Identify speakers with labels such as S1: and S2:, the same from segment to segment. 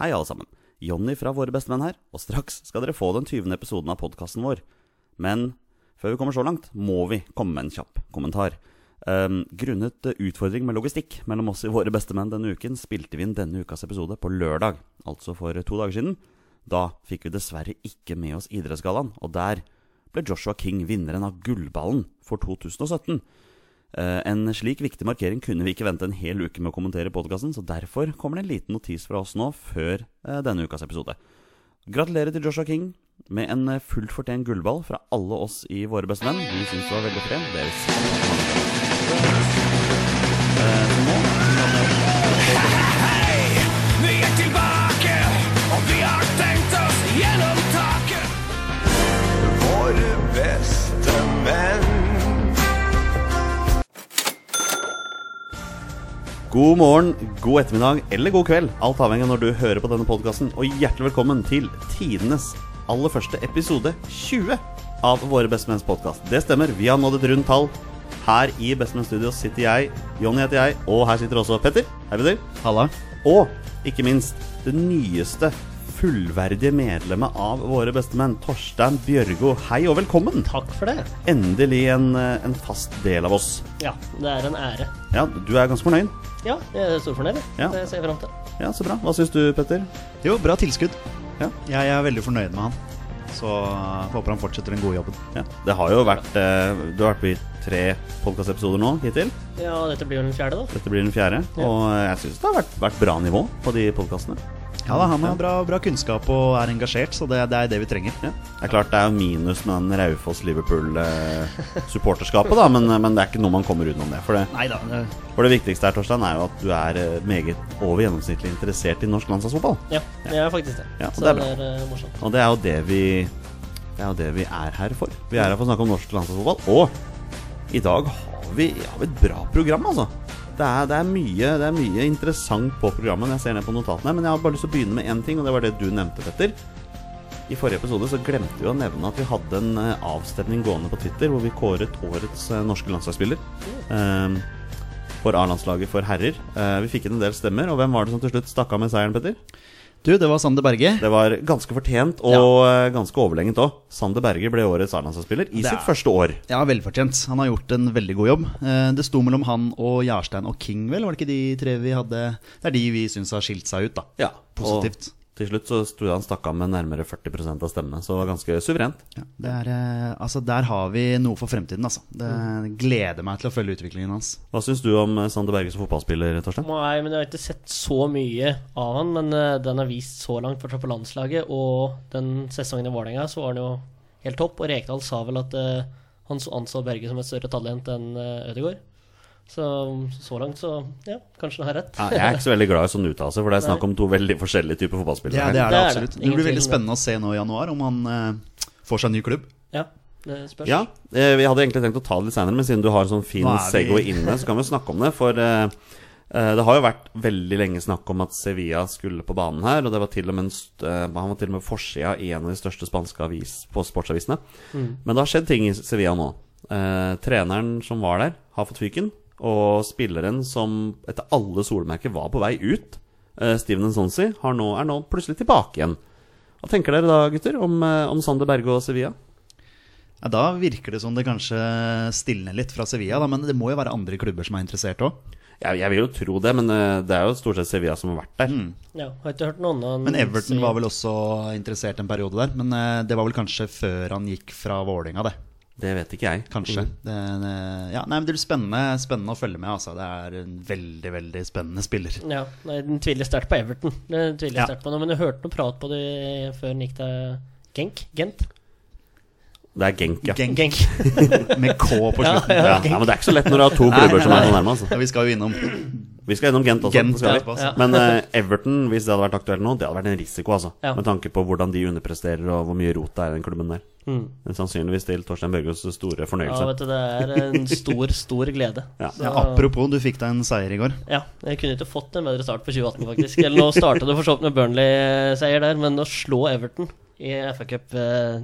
S1: Hei, alle sammen. Jonny fra Våre bestemenn her, og straks skal dere få den 20. episoden av podkasten vår. Men før vi kommer så langt, må vi komme med en kjapp kommentar. Ehm, grunnet eh, utfordring med logistikk mellom oss i Våre bestemenn denne uken, spilte vi inn denne ukas episode på lørdag, altså for to dager siden. Da fikk vi dessverre ikke med oss Idrettsgallaen, og der ble Joshua King vinneren av Gullballen for 2017. Eh, En slik viktig markering kunne vi ikke vente en hel uke med å kommentere i podkasten, så derfor kommer det en liten notis fra oss nå før eh, denne ukas episode. Gratulerer til Joshua King med en eh, fullt fortjent gullball fra alle oss i Våre bestemenn. Vi syns det var veldig frem. Deres Eh,
S2: Vi er tilbake, og vi har tenkt oss gjennom taket. Våre beste menn.
S1: God morgen, god ettermiddag eller god kveld, alt avhengig av når du hører på denne podkasten. Og hjertelig velkommen til tidenes aller første episode 20 av Våre bestemenns podkast. Det stemmer, vi har nådd et rundt tall. Her i Bestemenn Studio sitter jeg, Jonny heter jeg, og her sitter også Petter. Hei, Petter. Halla. Og ikke minst det nyeste fullverdige medlemmet av Våre bestemenn, Torstein Bjørgo. Hei og velkommen.
S3: Takk for det.
S1: Endelig en, eh, en fast del av oss.
S3: Ja, det er en ære.
S1: Ja, du er ganske fornøyd?
S3: Ja, jeg er storfornøyd. jeg.
S1: Ja.
S3: Det ser jeg fram til.
S1: Ja, så bra. Hva syns du, Petter?
S4: Jo, bra tilskudd.
S1: Ja.
S4: Jeg er veldig fornøyd med han. Så eh, håper han fortsetter den gode jobben.
S1: Ja, det har jo vært eh, Du har vært på i tre podkastepisoder nå hittil.
S3: Ja, og dette blir jo den fjerde, da.
S1: Dette blir den fjerde.
S3: Ja.
S1: Og eh, jeg syns det har vært, vært bra nivå på de podkastene.
S4: Ja da, Han har bra, bra kunnskap og er engasjert, så det, det er det vi trenger.
S1: Ja. Det er klart det er jo minus med den Raufoss-Liverpool-supporterskapet, da, men, eh, men det er ikke noe man kommer utenom det. For det,
S4: Nei da.
S1: for det viktigste her, Torstein, er jo at du er eh, meget over gjennomsnittlig interessert i norsk landslagsfotball.
S3: Ja, det er faktisk det.
S1: Ja, og
S3: så
S1: det er
S3: det er,
S1: bra.
S3: eh, morsomt.
S1: Og det er jo det vi Det er jo det vi er her for. Vi er her for å snakke om norsk landslagsfotball. Og i dag har vi, har vi et bra program, altså. Det er, det, er mye, det er mye interessant på programmet. Jeg ser ned på notatene, men jeg har bare lyst til å begynne med én ting, og det var det du nevnte, Petter. I forrige episode så glemte vi å nevne at vi hadde en eh, avstemning gående på Twitter hvor vi kåret årets eh, norske landslagsspiller. eh, for A-landslaget for herrer. Eh, vi fikk inn en del stemmer, og hvem var det som til slutt stakk av med seieren, Petter?
S4: Du, det var Sander Berge.
S1: Det var ganske fortjent og eh, ganske overlegent òg. Sander Berger ble årets A-landslagsspiller i
S4: Det
S1: sitt
S4: er-
S1: første år.
S4: Ja, velfortjent. Han har gjort en veldig god jobb. Eh, Det sto mellom han og Jarstein og King, vel? Var det ikke de tre vi hadde Det er de vi syns har skilt seg ut, da. Positivt.
S1: Og til slutt så sto han stakk av med nærmere 40 av stemmene, så det var ganske suverent.
S4: Ja, det er, eh, altså, der har vi noe for fremtiden, altså. Det gleder meg til å følge utviklingen hans.
S1: Hva syns du om eh, Sander Berger som fotballspiller, Torstein?
S3: Nei, men jeg har ikke sett så mye av han, men eh, den er vist så langt fortsatt på landslaget, og den sesongen i Vålerenga så var han jo helt topp, og Rekdal sa vel at eh, han så- anså Berge som et større talent enn eh, Ødegaard. Så så langt, så ja, kanskje han har rett.
S1: Ja, jeg er ikke så veldig glad i sånn uttalelse, for det er snakk om to veldig forskjellige typer fotballspillere.
S4: Ja, det er det
S3: Det er det.
S4: absolutt. Det
S3: Ingen
S4: blir
S3: tvil om
S4: veldig
S3: det.
S4: spennende å se nå i januar om han eh, får seg en ny klubb.
S3: Ja, det spørs.
S1: Ja, eh, Vi hadde egentlig tenkt å ta det litt senere, men siden du har en sånn fin
S4: Nå er vi-
S1: Segway inne, så kan vi jo snakke om det. For eh, eh, det har jo vært veldig lenge snakk om at Sevilla skulle på banen her. Og det var til og med en st eh, han var til og med på forsida i en av de største spanske avis på sportsavisene.
S4: Mm.
S1: Men det har skjedd ting i Sevilla nå. Eh, treneren som var der, har fått fyken. Og spilleren som etter alle solmerker var på vei ut, eh, Steven Nsonsi, har nå, er nå plutselig tilbake igjen. Hva tenker dere da, gutter, om, eh, om Sander Berge og Sevilla?
S4: Ja, da virker det som det kanskje stilner litt fra Sevilla, da, men det må jo være andre klubber som er interessert òg.
S1: Jeg, jeg vil jo tro det, men eh, det er jo stort sett Sevilla som har vært der. Mm,
S3: Ja, har ikke hørt noe annet.
S4: Mm. Men Everton var vel også interessert en periode der. Men eh, det var vel kanskje før han gikk fra Vålerenga, det.
S1: Det vet ikke jeg. Mm.
S4: Kanskje. Det, eh, ja, nei, men det blir spennende, spennende å følge med, altså. Det er en veldig, veldig spennende spiller.
S3: Ja, nei, den tviler sterkt på Everton. Den tviler
S4: Ja.
S3: sterkt på noe, Men du hørte noe prat på det før den gikk til Genk? Gent?
S1: Det er Genk, ja.
S4: Genk
S3: Genk.
S4: med K på slutten.
S1: Ja, ja, men det er ikke så lett når du har to klubber som er så nærme. Altså.
S4: Ja, vi skal jo innom.
S1: Vi skal gjennom Gent også.
S4: Gent
S1: skal vi.
S4: etterpå, altså.
S1: Men eh, Everton, hvis det hadde vært aktuelt nå, det hadde vært en risiko, altså.
S3: Ja.
S1: Med tanke på hvordan de underpresterer, og hvor mye rot det er i den klubben der.
S3: Mm.
S1: Men sannsynligvis til Torstein Børgos store
S3: Ja,
S1: fornøyelse.
S3: vet du, det er en stor, stor glede.
S1: Ja.
S3: Så-
S4: Ja, apropos, du fikk deg en seier i går.
S3: Ja, jeg kunne ikke fått en bedre start på 2018, faktisk. Eller nå starta det for så vidt med Burnley-seier der, men å slå Everton i FA Cup eh,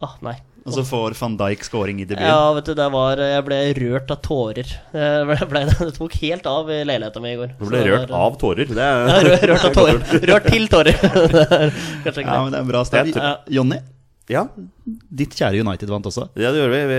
S3: Ah, nei.
S4: Og så får van Dijk scoring i debuten.
S3: Ja, vet du, det var Jeg ble rørt av tårer. Jeg ble, ble, det tok helt av i leiligheta mi i går.
S1: Du ble
S3: Så det
S1: rørt
S3: var-
S1: av tårer. Det
S3: Ja,
S1: er,
S3: rørt, rørt av tårer. Rørt til tårer. Det er Kanskje ikke
S4: Ja,
S3: det.
S4: men det er en bra start.
S1: Jeg
S3: tror-
S4: Jonny,
S1: ja,
S4: ditt kjære United vant også.
S1: ja, det gjør vi. vi.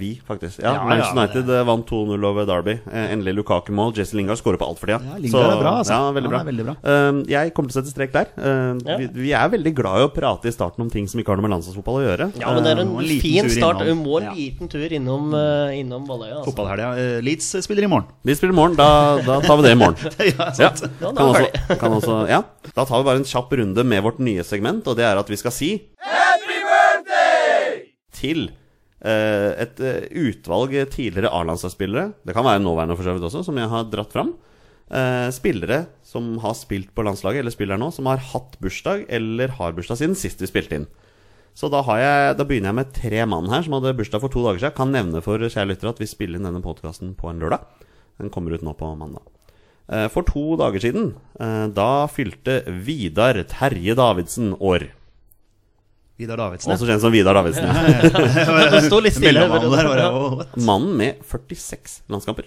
S1: Vi, faktisk. Ja,
S4: Ja,
S1: Manchester
S4: ja,
S1: United eh, vant 2-0 over Derby. Eh, Endelig Lukaku-mål. Jesse Lingard skårer på alt for tida.
S4: Ja, Lingard er bra, altså.
S1: Ja, veldig bra.
S4: Han er veldig bra.
S1: Eh, jeg kommer til å sette strek der. Eh,
S3: Ja.
S1: vi, vi er veldig glad i å prate i starten om ting som ikke har noe med landslagsfotball å gjøre.
S3: Ja, men det er en,
S4: Eh, nå en liten
S3: fin
S4: tur
S3: start.
S4: innom.
S3: Hun må en
S4: Ja.
S3: liten tur innom, eh, innom Balløya. Altså.
S4: Fotballhelga. Eh, Leeds spiller i morgen.
S1: Vi spiller i morgen. Da, da tar vi det i morgen.
S4: ja,
S1: Ja.
S4: sant.
S3: Ja, da
S1: Kan
S3: er vi
S1: også,
S3: ferdig.
S1: kan også, ja. Da tar vi bare en kjapp runde med vårt nye segment, og det er at vi skal si til eh, et eh, utvalg tidligere A-landslagsspillere, det kan være nåværende for så vidt også, som jeg har dratt fram. Eh, spillere som har spilt på landslaget, eller spillere nå, som har hatt bursdag eller har bursdag siden sist vi spilte inn. Så da, har jeg, da begynner jeg med tre mann her som hadde bursdag for to dager siden. Kan nevne for kjære lyttere at vi spiller inn denne podkasten på en lørdag. Den kommer ut nå på mandag. Eh, For to dager siden, eh, da fylte Vidar Terje Davidsen år.
S4: Vidar Davidsen.
S1: Også kjent som Vidar Davidsen. ja.
S3: Det sto litt stille.
S4: Mellommannen der var jo
S1: Mannen med 46 landskamper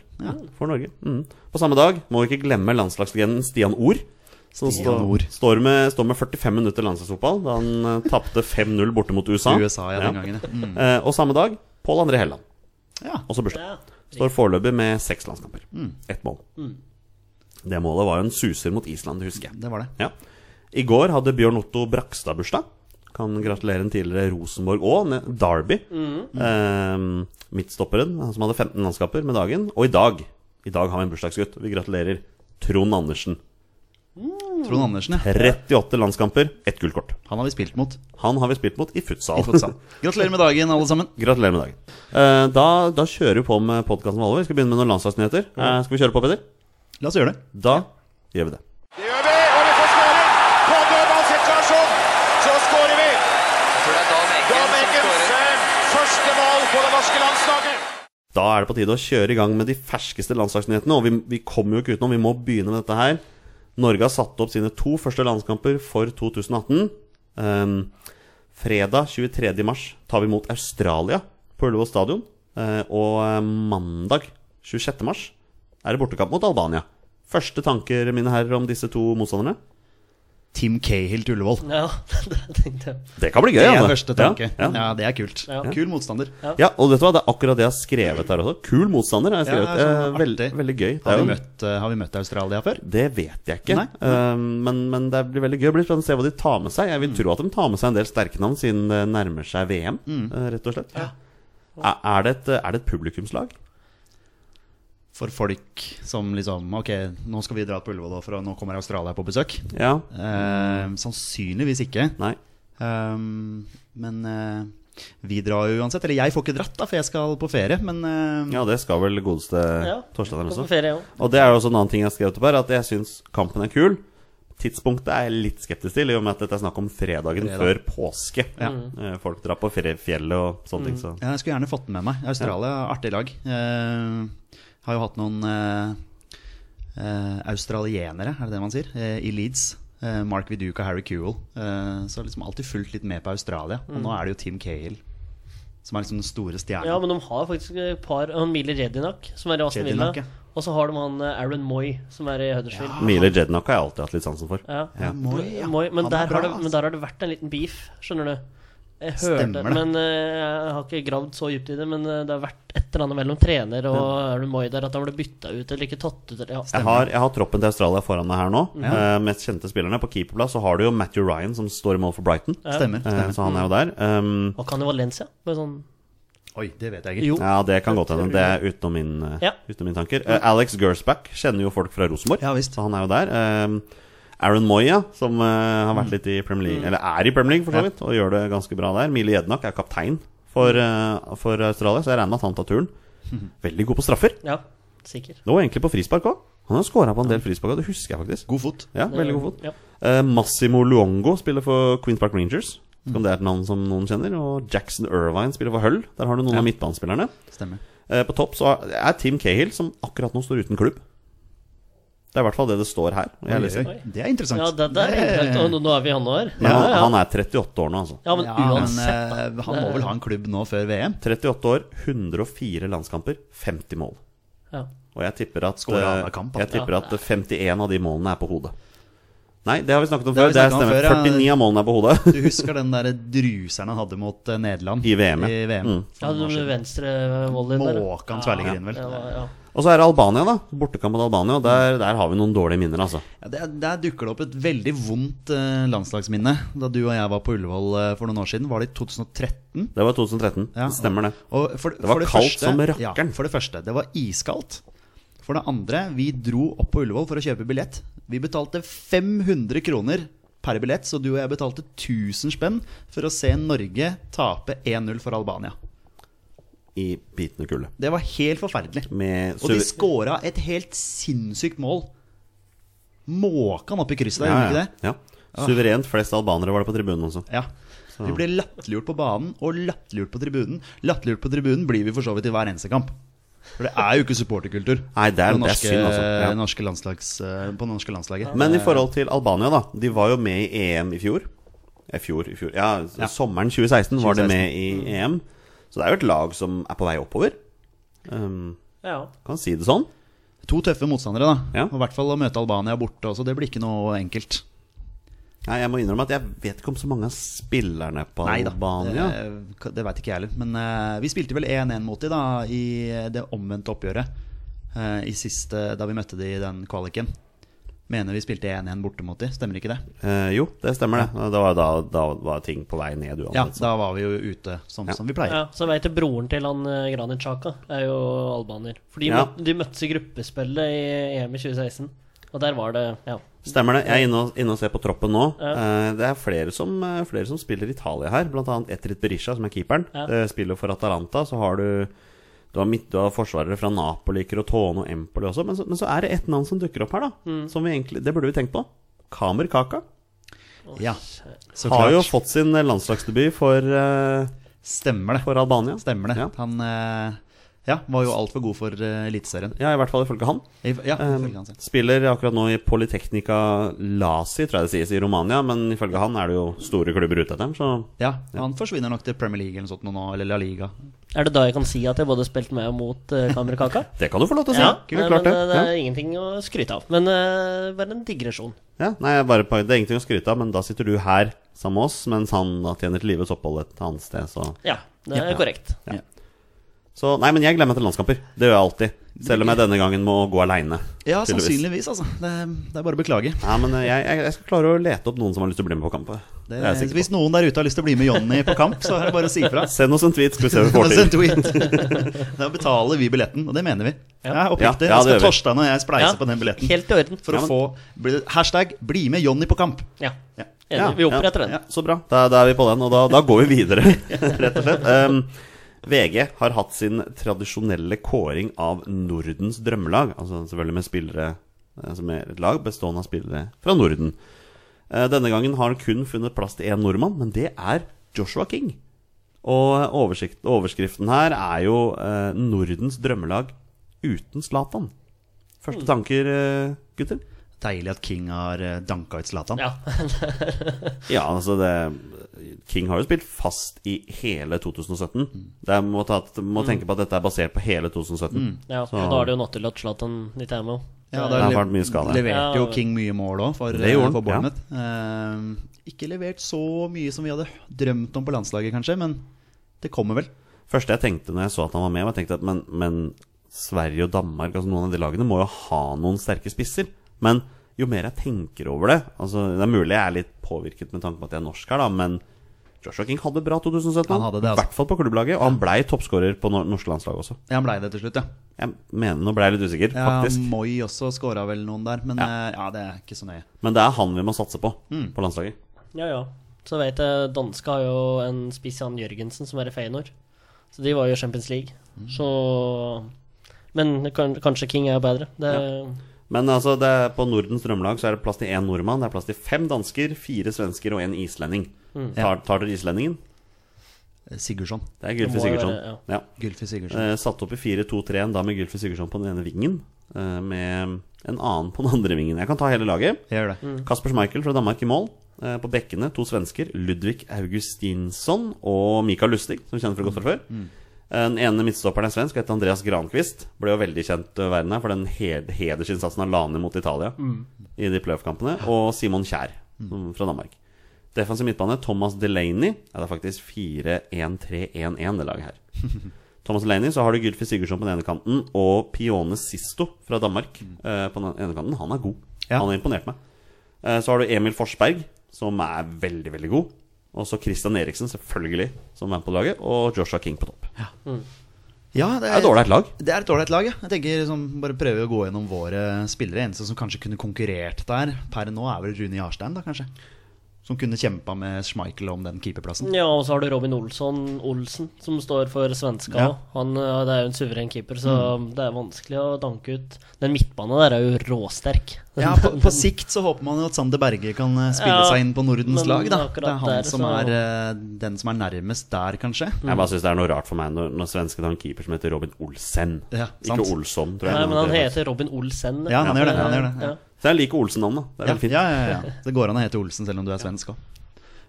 S1: for Norge. Mm. På samme dag må vi ikke glemme landslagslegenden Stian Ord. Som
S4: Stian
S1: stå-
S4: Ord.
S1: Står, med, står med 45 minutter landslagsfotball da han eh, tapte 5-0 borte mot USA.
S4: USA ja, den gangen. ja. Mm.
S1: Eh, Og samme dag Pål André Helland.
S4: Ja.
S1: Også bursdag.
S3: Ja.
S1: Står foreløpig med seks landskamper.
S4: Mm.
S1: Ett mål. Det målet var jo en suser mot Island, det husker jeg.
S4: Det var det.
S1: Ja. I går hadde Bjørn Otto Brakstad bursdag. Kan gratulere en tidligere Rosenborg og med Derby.
S4: Mm.
S1: Eh, midtstopperen, han som hadde 15 landskaper med dagen. Og i dag i dag har vi en bursdagsgutt. Vi gratulerer Trond Andersen.
S4: Trond Andersen, ja.
S1: 38 landskamper, ett gullkort.
S4: Han har vi spilt mot
S1: Han har vi spilt mot i futsal.
S4: i futsal. Gratulerer med dagen, alle sammen.
S1: Gratulerer med dagen. Eh, da, da kjører vi på med podkasten vår. Vi skal begynne med noen landslagsnyheter. Eh, skal vi kjøre på, Peder?
S4: La oss gjøre det.
S1: Da gjør vi det.
S2: Det gjør vi, og vi får skåring! På dødballsituasjon så skårer vi!
S5: tror det er Dan Eggen
S2: Dan
S5: som
S2: Eggens
S5: skårer.
S2: eh, første mål på det norske landslaget.
S1: Da er det på tide å kjøre i gang med de ferskeste landslagsnyhetene. Og vi, vi kommer jo ikke utenom, vi må begynne med dette her. Norge har satt opp sine to første landskamper for 2018. Ehm, fredag 23. mars tar vi imot Australia på Ullevål stadion. Eh, og eh, mandag 26. mars er det bortekamp mot Albania. Første tanker, mine herrer, om disse to motstanderne?
S4: Tim Cahill til Ullevål.
S3: Ja, det tenkte jeg.
S1: Det kan bli gøy.
S4: Det er
S1: Anne.
S4: første tanke.
S1: Ja,
S4: Ja,
S1: ja.
S4: det er kult.
S3: Ja.
S4: Kul motstander.
S1: ja, og vet du hva, det er akkurat det jeg har skrevet her også. Kul motstander har jeg
S4: Ja, det
S1: skrevet.
S4: er sånn
S1: Eh, veld,
S4: artig.
S1: veldig gøy. Det er
S4: Har vi
S1: jo-
S4: møtt, eh, har vi møtt Australia før?
S1: Det vet jeg ikke.
S4: Nei.
S1: Eh, men, men det blir veldig gøy. Det blir spennende å se hva de tar med seg. Jeg vil tro at de tar med seg en del sterke navn siden det nærmer seg VM,
S4: Mm.
S1: eh, rett og slett. Er, er, det et, er det et publikumslag?
S4: For folk som liksom Ok, nå skal vi dra på Ullevål, da, for nå kommer Australia på besøk.
S1: Ja.
S4: Eh, sannsynligvis ikke.
S1: Nei.
S4: Um, men eh, vi drar jo uansett. Eller jeg får ikke dratt, da, for jeg skal på ferie. Men eh,
S1: Ja, det skal vel godeste
S3: Ja.
S1: Torstein
S3: Gå på
S1: også.
S3: ferie, jeg òg.
S1: Og det er jo også en annen ting jeg har skrevet opp her, at jeg syns kampen er kul. Tidspunktet er jeg litt skeptisk til, i og med at dette er snakk om fredagen
S4: Fredag.
S1: før påske.
S4: Ja.
S1: Eh, Folk drar på ferie- fjellet og sånne ting, så
S4: ja, jeg skulle gjerne fått den med meg. Australia, artig lag. Eh, har jo hatt noen eh, eh, australienere, er det det man sier, eh, i Leeds. Eh, Mark Viduka, Harry Kewell. Eh, så har liksom alltid fulgt litt med på Australia. Og nå er det jo Tim Cahill som er liksom den store stjerna.
S3: Mm. Ja, men de har faktisk et par Han Mili Redinak, som er i Aston Villa.
S4: Redinak, ja.
S3: Og så har de han eh, Aaron Moy, som er i Huddersfield.
S1: Mile Jednak har jeg alltid hatt litt sansen for.
S3: Ja.
S4: Mm. Ja, Moy, ja.
S3: Moy, men,
S4: Han er
S3: der
S4: bra,
S3: har det,
S4: altså.
S3: men der har det vært en liten beef, skjønner du. Jeg hørte,
S4: Stemmer det.
S3: men eh, Jeg har ikke gravd så dypt i det, men eh, det har vært et eller annet mellom trener og Aaron Moy der at han ble bytta ut eller ikke tatt ut. Eller, ja.
S1: Jeg har, jeg har troppen til Australia foran meg her nå. Eh, mest kjente spillerne. På keeperplass så har du jo Matthew Ryan, som står i mål for Brighton.
S4: Stemmer.
S1: Eh,
S4: stemmer.
S1: så han er jo der. Um,
S3: Og kan i Valencia. Med sånn,
S4: Oi, det vet jeg ikke.
S3: jo.
S1: ja, det kan godt hende. Det er utenom, min, eh,
S3: Ja.
S1: utenom mine tanker. Eh, Alex Gersback kjenner jo folk fra Rosenborg,
S4: Ja, visst.
S1: så han er jo der. Um, Aaron Moya, som eh, har
S4: Mm.
S1: vært litt i Premier League, eller er i Premier League for så vidt, og gjør det ganske bra der. Mile Jednak er kaptein for, eh, for Australia, så jeg regner med at han tar turen. Veldig god på straffer.
S3: Ja, sikker.
S1: Det var egentlig på frispark òg. Han har scora på en del frispark, og det husker jeg faktisk.
S4: God fot.
S1: Ja, veldig god fot.
S3: Ja.
S1: Eh, Massimo Luongo spiller for Queens Park Rangers. Vet ikke om det er et navn som noen kjenner. Og Jackson Irvine spiller for Hull. Der har du noen av midtbanespillerne.
S4: Stemmer.
S1: Eh, på topp så er Tim Cahill, som akkurat nå står uten klubb. Det er i hvert fall det det står her. når Jeg leser.
S4: Oi, oi. Det er interessant.
S3: Ja, det, det er interessant. Og nå er vi i januar.
S1: Men han,
S3: ja.
S1: han er 38 år nå, altså.
S3: ja, men
S4: Ja,
S3: uansett. da.
S4: men, eh, han må vel ha en klubb nå før VM?
S1: 38 år, 104 landskamper, 50 mål.
S3: Ja.
S1: Og jeg tipper at,
S4: Skårer
S1: eh,
S4: annenhver kamp,
S1: jeg
S4: altså.
S1: tipper at 51 av de målene er på hodet. Nei, det har vi snakket om
S4: Det har
S1: før.
S4: vi
S1: Det
S4: snakket om
S1: stemmer.
S4: før, ja.
S1: 49 av målene er på hodet.
S4: Du husker den der druseren han hadde mot eh, Nederland?
S1: I VM, ja.
S4: I VM.
S1: Mm.
S3: Ja,
S4: For noen år
S3: du
S4: siden.
S3: venstre volley der. ja.
S4: Måkan tverrligger inn, vel.
S3: Ja, ja, ja.
S1: Og så er det Albania, da. Bortekamp mot Albania. og Der, der har vi noen dårlige minner, altså.
S4: Ja, der, der dukker det opp et veldig vondt eh, landslagsminne. Da du og jeg var på Ullevål eh, for noen år siden, var det i 2013.
S1: Det var 2013.
S4: Ja.
S1: Det stemmer, det.
S4: Og for,
S1: var
S4: for
S1: kaldt som rakkeren.
S4: Ja, for det første, det var iskaldt. For det andre, vi dro opp på Ullevål for å kjøpe billett. Vi betalte 500 kroner per billett, så du og jeg betalte 1000 spenn for å se Norge tape 1-0 for Albania.
S1: I bitende kulde.
S4: Det var helt forferdelig.
S1: Med
S4: Og de
S1: suver-
S4: scora et helt sinnssykt mål. Måka han opp i krysset der,
S1: Ja,
S4: gjorde han
S1: ja,
S4: ikke det? Ah.
S1: ja. Suverent flest albanere var det på tribunen også.
S4: Ja. Vi ble latterliggjort på banen og latterliggjort på tribunen. Latterliggjort på tribunen blir vi for så vidt i hver eneste kamp. For det er jo ikke supporterkultur
S1: Nei, det er-
S4: på,
S1: det er
S4: norske,
S1: synd, altså. Ja.
S4: norske landslags, eh, på det norske landslaget.
S1: Men i forhold til Albania, da. De var jo med i EM i fjor. I fjor, i fjor. Ja, sommeren 2016 var de med
S4: Mm.
S1: i EM. Så det er jo et lag som er på vei oppover. Um,
S3: ja.
S1: kan si det sånn.
S4: To tøffe motstandere, da.
S1: Ja.
S4: Og I hvert fall å møte Albania borte også. Det blir ikke noe enkelt.
S1: Nei, jeg må innrømme at jeg vet ikke om så mange av spillerne på
S4: Nei da,
S1: Albania.
S4: det, det veit ikke jeg heller. Men eh, vi spilte vel 1-1 mot de da i det omvendte oppgjøret. eh, I siste, da vi møtte de i den kvaliken. Mener vi spilte 1-1 borte mot de, stemmer ikke det?
S1: Eh, jo, det stemmer det. Da var, da, da var ting på vei ned
S4: Ja,
S1: uansett.
S4: da var vi jo ute som, som vi pleier.
S3: ja. Så veit jeg broren til han eh, Granit Xhaka er jo albaner. For de,
S1: Ja.
S3: møtte, de møttes i gruppespillet i EM i 2016, og der var det Ja.
S1: Stemmer det. Jeg er inne og, inne og ser på troppen nå.
S3: Ja.
S1: Eh, det er flere som, eh, flere som spiller Italia her, bl.a. Etrit Berisha, som er keeperen.
S3: Ja.
S1: Eh, spiller for Atalanta. Så har du du har, midt, du har forsvarere fra Napoli, Crotone og Empoli også. Men så, men så er det ett navn som dukker opp her, da.
S3: Mm.
S1: Som vi egentlig, det burde vi tenkt på. Kamer Kaka.
S4: Ja, så
S1: Har jo
S4: klart.
S1: fått sin eh, landslagsdebut for, eh,
S4: Stemmer det.
S1: for Albania.
S4: Stemmer det.
S1: Ja.
S4: Han eh, ja, var jo altfor god for eh, Eliteserien.
S1: Ja, i hvert fall ifølge han.
S4: I- Ja,
S1: Um,
S4: ifølge han selv.
S1: spiller akkurat nå i Polyteknika Lasi, tror jeg det sies, i Romania. Men ifølge han er det jo store klubber ute etter dem, så
S4: ja, han forsvinner nok til Premier League eller noe sånt nå, eller La Liga.
S3: Er det da jeg kan si at jeg både spilte med og mot eh, Kamer Kaka?
S1: det kan du få lov til å si.
S3: Ja,
S1: Kult,
S3: eh,
S1: klart
S3: men
S1: det.
S3: eh, det
S1: Ja.
S3: er ingenting å skryte av. Men eh, bare en digresjon.
S1: Ja, nei, jeg bare, det er ingenting å skryte av, men da sitter du her sammen med oss, mens han da tjener til livets opphold et annet sted, så
S3: Ja, det er
S1: Ja.
S3: korrekt.
S1: Så nei, men jeg gleder meg til landskamper. Det gjør jeg alltid. Selv om jeg denne gangen må gå aleine.
S4: Ja, sannsynligvis, altså. Det, det er bare å beklage.
S1: Nei, men eh, jeg, jeg, jeg skal klare å lete opp noen som har lyst til å bli med på kamp. Det
S4: Det,
S1: er jeg sikker
S4: hvis noen der ute har lyst til å bli med Jonny på kamp, så er det bare å si ifra.
S1: på. Send oss en tweet, skal vi se om vi får
S4: Send
S1: til.
S4: tweet. Da betaler vi billetten, og det mener vi.
S3: Ja.
S4: Ja, oppriktig.
S1: Ja, ja, det
S4: Da skal
S1: gjør vi.
S4: Torstein og jeg spleise
S3: Ja,
S4: på den billetten
S3: Helt i orden.
S4: for
S1: Ja, men-
S4: å få bli- Hashtag 'bli med Jonny på kamp'.
S3: Ja.
S4: Ja.
S3: Enig. vi oppretter den.
S1: Ja, så bra. Da, da er vi på den, og da, da går vi videre, rett og slett. Um, VG har hatt sin tradisjonelle kåring av Nordens drømmelag. Altså selvfølgelig med spillere eh, som er et lag bestående av spillere fra Norden. Eh, Denne gangen har han kun funnet plass til én nordmann, men det er Joshua King. Og eh, oversikt, overskriften her er jo eh, 'Nordens drømmelag uten Zlatan'. Første tanker, eh, gutter?
S4: Deilig at King har eh, danka ut Zlatan.
S3: Ja.
S1: Ja, altså det King har jo spilt fast i hele 2017. Det er, må, ta, må tenke på at dette er basert på hele 2017.
S3: ja. Og da er det jo naturlig at Zlatan ikke er med òg.
S4: Ja,
S1: Det har
S4: le-
S1: vært mye skade.
S4: Leverte jo
S3: Ja.
S4: King mye mål òg for,
S1: Det gjorde han,
S4: for Bournemouth. Eh, ikke levert så mye som vi hadde drømt om på landslaget, kanskje, men det kommer vel.
S1: Første jeg tenkte når jeg så at han var med, var jeg tenkte at men, men Sverige og Danmark, altså noen av de lagene, må jo ha noen sterke spisser. Men jo mer jeg tenker over det altså Det er mulig jeg er litt påvirket med tanke på at jeg er norsk her, da, men Joshua King hadde det bra 2017.
S4: Han hadde det, altså.
S1: I hvert fall på klubblaget, og han blei toppskårer på nor- norske landslag også.
S4: Ja, han blei det til slutt, ja.
S1: Jeg mener, Nå blei jeg litt usikker,
S4: ja
S1: faktisk.
S4: Moi også scora vel noen der, men
S1: Ja.
S4: ja. ja, det er ikke så nøye.
S1: Men det er han vi må satse på på landslaget.
S3: Ja, ja. Så vet jeg, danske har jo en spiss Jan Jørgensen som er i Feyenoord. Så de var jo i Champions League.
S4: Mm.
S3: Så Men kan, kanskje King er bedre. Det,
S1: Men altså, det er, på Nordens drømmelag så er det plass til én nordmann, det er plass til fem dansker, fire svensker og én islending.
S3: Mm.
S1: Tar, tar dere islendingen?
S4: Eh, Sigurdsson.
S1: Det er Gylfi
S3: Det må jo
S1: Sigurdsson.
S3: være,
S1: ja.
S4: Gylfi Sigurdsson.
S1: Eh, Satt opp i 4-2-3-en da med Gylfi Sigurdsson på den ene vingen eh, med en annen på den andre vingen. Jeg kan ta hele laget.
S4: Gjør det.
S1: Kasper Schmeichel fra Danmark i mål. Eh, På bekkene to svensker, Ludvig Augustinsson og Mikael Lustig, som vi kjenner fra godt fra før. Den ene midtstopperen er svensk, og heter Andreas Granqvist. Ble jo veldig kjent eh, verden her for den hed hedersinnsatsen han la ned mot Italia i de playoff-kampene. Og Simon Kjær mm, fra Danmark. Defensiv midtbane Thomas Delaney. Ja, det er faktisk 4-1-3-1-1 det laget her. Thomas Delaney, så har du Gylfi Sigurdsson på den ene kanten og Pione Sisto fra Danmark eh, på den ene kanten. Han er god.
S4: Mm. Ja.
S1: Han har imponert meg. Eh, Så har du Emil Forsberg, som er veldig, veldig god. Og så Christian Eriksen, selvfølgelig, som er med på laget. Og Joshua King på topp. Det
S4: Ja,
S1: er et ålreit lag.
S4: Det er et ålreit lag, ja. Jeg tenker liksom, Bare prøve å gå gjennom våre spillere. Eneste som kanskje kunne konkurrert der per nå, er vel Rune Jarstein, da kanskje. Som kunne kjempa med Schmeichel om den keeperplassen.
S3: Ja, og så har du Robin Olsson Olsen, som står for svenska.
S4: Ja. Mm.
S3: Han eh, det er jo en suveren keeper, så det er vanskelig å danke ut. Den midtbanen der er jo råsterk.
S4: Ja, på, på sikt så håper man jo at Sander Berge kan eh, spille
S3: Ja,
S4: seg inn på Nordens
S3: men
S4: lag, da.
S3: akkurat
S4: Det er han
S3: der,
S4: som
S3: så- Mm.
S4: er eh, den som er nærmest der, kanskje.
S1: Jeg bare syns det er noe rart for meg når, når svenskene har en keeper som heter Robin Olsen.
S4: Ja, sant.
S1: ikke Olsson, tror jeg.
S3: Nei, men han heter Robin Olsen.
S4: Ja, han gjør det, han gjør det, ja.
S3: Ja.
S1: Så jeg liker Olsen-navnet. Det er
S4: Ja,
S1: veldig fint.
S4: ja, ja, ja. Det går an å hete Olsen selv om du er svensk òg.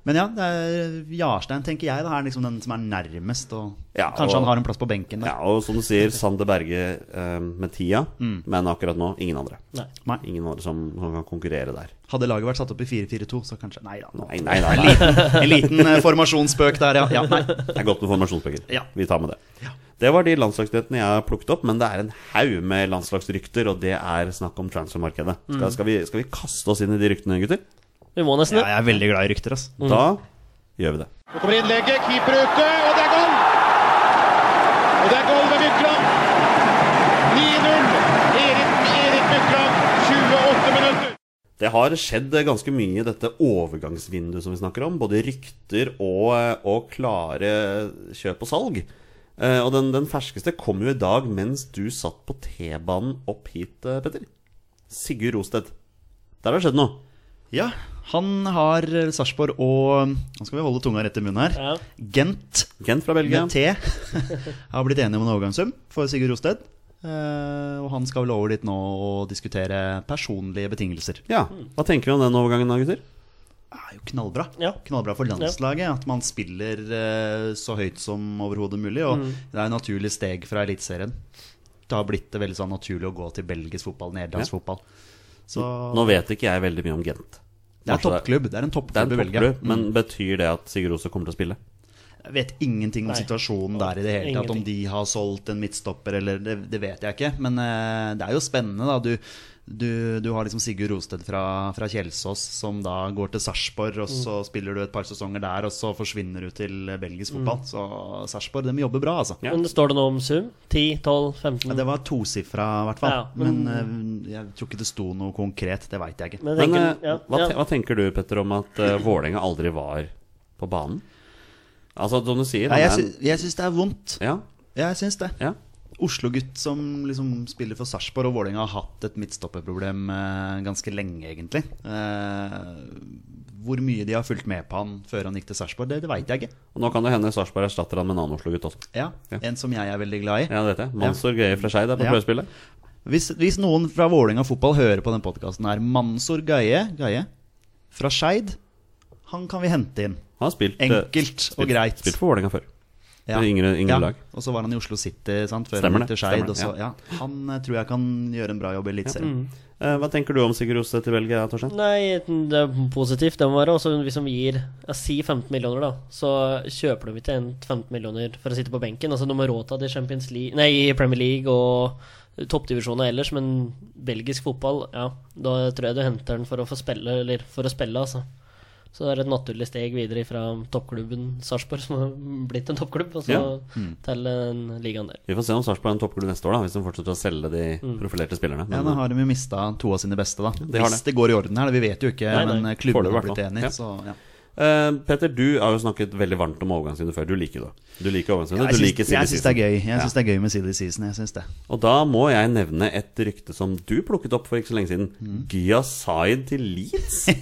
S4: Men ja, det er Jarstein tenker jeg da, er liksom den som er nærmest. Og
S1: Ja, og-
S4: kanskje han har en plass på benken der.
S1: Ja, og som du sier, Sander Berge eh, med tida,
S4: Mm.
S1: men akkurat nå ingen andre.
S3: Nei.
S4: Nei.
S1: Ingen andre som, som kan konkurrere der.
S4: Hadde laget vært satt opp i 4-4-2, så kanskje Nei da. nå-
S1: Nei, nei, nei. nei.
S4: En liten eh, formasjonsspøk der, ja. ja nei.
S1: Det er godt med formasjonsbøker.
S4: Ja.
S1: Vi tar med det. Det var de landslagsnyhetene jeg har plukket opp, men det er en haug med landslagsrykter, og det er snakk om transfermarkedet.
S4: Mm.
S1: Skal, skal, vi, skal vi kaste oss inn i de ryktene, gutter?
S3: Vi må nesten
S4: Ja,
S3: det.
S4: jeg er veldig glad i rykter, ass.
S1: Da gjør vi det.
S6: Nå kommer innlegget, keeper ute, og det er goal! Og det er goal ved Mykland. 9-0. Erik, Erik Mykland, 28 minutter.
S1: Det har skjedd ganske mye i dette overgangsvinduet som vi snakker om. Både rykter og, eh, og klare kjøp og salg. Eh, Og den, den ferskeste kom jo i dag mens du satt på T-banen opp hit, eh, Petter. Sigurd Rosted. Der har det skjedd noe.
S4: Ja, han har eh, Sarpsborg og Nå skal vi holde tunga rett i munnen her.
S3: Ja.
S4: Gent
S1: Gent fra Belgia.
S4: med T har blitt enige om en overgangssum for Sigurd Rosted. Eh, og han skal vel over dit nå og diskutere personlige betingelser.
S1: Ja, Hva tenker vi om den overgangen da, gutter?
S4: Det er jo knallbra.
S3: Ja.
S4: Knallbra for landslaget at man spiller eh, så høyt som overhodet mulig. Og
S3: Mm.
S4: det er et naturlig steg fra Eliteserien. Det har blitt det veldig sånn naturlig å gå til belgisk fotball, nederlandsk fotball. Så
S1: Nå vet ikke jeg veldig mye om Gent.
S4: det er
S1: Kanskje
S4: toppklubb. Det Mm. er en
S1: Det er
S4: toppklubb
S1: en
S4: i Belgia.
S1: toppklubb, men betyr det at Sigurd Rose kommer til å spille?
S4: Jeg vet ingenting om
S3: Nei.
S4: situasjonen der i det hele tatt. Om
S3: Ingenting.
S4: de har solgt en midtstopper eller det, det vet jeg ikke. Men eh, det er jo spennende, da. Du, du, du har liksom Sigurd Rosted fra, fra Kjelsås som da går til Sarpsborg, og så
S3: Mm.
S4: spiller du et par sesonger der, og så forsvinner du til belgisk fotball. Så Sarpsborg, dem jobber bra, altså.
S1: Ja.
S3: Men det står det noe om sum? 10, 12, 15?
S4: Ja, Det var tosifra, i hvert fall.
S3: Ja,
S4: men
S3: men-
S4: eh, jeg tror ikke det sto noe konkret. Det veit jeg ikke.
S3: Men jeg
S1: Men
S3: tenker,
S1: eh,
S3: ja,
S1: hva,
S3: ja.
S1: te- hva tenker du, Petter, om at eh, Vålerenga aldri var på banen? Altså, som du sier
S4: Nei, jeg,
S1: han er en-
S4: sy jeg syns det er vondt.
S1: Ja,
S4: Jeg syns det.
S1: ja.
S4: Oslo-gutt som liksom spiller for Sarpsborg, og Vålerenga har hatt et midtstopperproblem eh, ganske lenge, egentlig. Eh, hvor mye de har fulgt med på han før han gikk til Sarpsborg, det, det veit jeg ikke.
S1: Og nå kan det hende Sarpsborg erstatter han med en annen Oslo-gutt også.
S4: Ja,
S1: Ja.
S4: En som jeg er veldig glad i.
S1: Ja, det vet jeg. Mansour Gaye fra Skeid er på
S4: Ja.
S1: prøvespillet.
S4: Hvis, hvis noen fra Vålerenga fotball hører på den podkasten her, Mansour Gaye, Gaye fra Skeid, han kan vi hente inn.
S1: Han har spilt eh,
S4: Enkelt og
S1: spilt-
S4: greit.
S1: Spilt for Vålerenga før. Det er yngre- yngre lag.
S4: Og så var han i Oslo City sant, før
S1: Stemmer
S4: han gikk
S1: det,
S4: til Skeid.
S1: stemmer det,
S4: og så- Ja. Han eh, tror jeg kan gjøre en bra jobb i Eliteserien.
S1: Eh, hva tenker du om Sigurd Rose til Belgia,
S4: Mm.
S1: Torstein?
S3: Nei, det er positivt, det må være. Også hvis de gir ja, si 15 millioner, da, så kjøper de ikke en 15 millioner for å sitte på benken. Altså, de har råd til det i Champions League Nei, i Premier League og toppdivisjoner ellers, men belgisk fotball, ja, da tror jeg du henter den for å få spille, eller for å spille, altså. Så det er et naturlig steg videre fra toppklubben Sarpsborg, som har blitt en toppklubb, og så
S1: Ja.
S3: til den ligaen der.
S1: Vi får se om Sarpsborg er en toppklubb neste år, da, hvis de fortsetter å selge de profilerte spillerne.
S4: Mm. Ja,
S1: Men,
S4: nå har de jo mista to av sine beste, da.
S1: de har
S4: Hvis
S1: det.
S4: det går i orden her, det, vi vet jo ikke,
S3: Nei, nei.
S4: men eh, klubben
S1: Foreløpig
S4: har
S1: i hvert
S4: blitt
S1: fall.
S4: enig.
S1: Ja.
S4: Så, ja.
S1: Eh, Petter, du har jo snakket veldig varmt om overgangsvinduet før. Du liker det. Du liker overgangsvinduet.
S4: Jeg
S1: du
S4: syns,
S1: liker silly
S4: jeg syns det er
S1: season.
S4: gøy Jeg
S1: Ja.
S4: synes det er gøy med Silly Season. Jeg syns det.
S1: Og da må jeg nevne et rykte som du plukket opp for ikke så
S4: Mm.
S1: lenge siden. Gya Zaid til Leeds.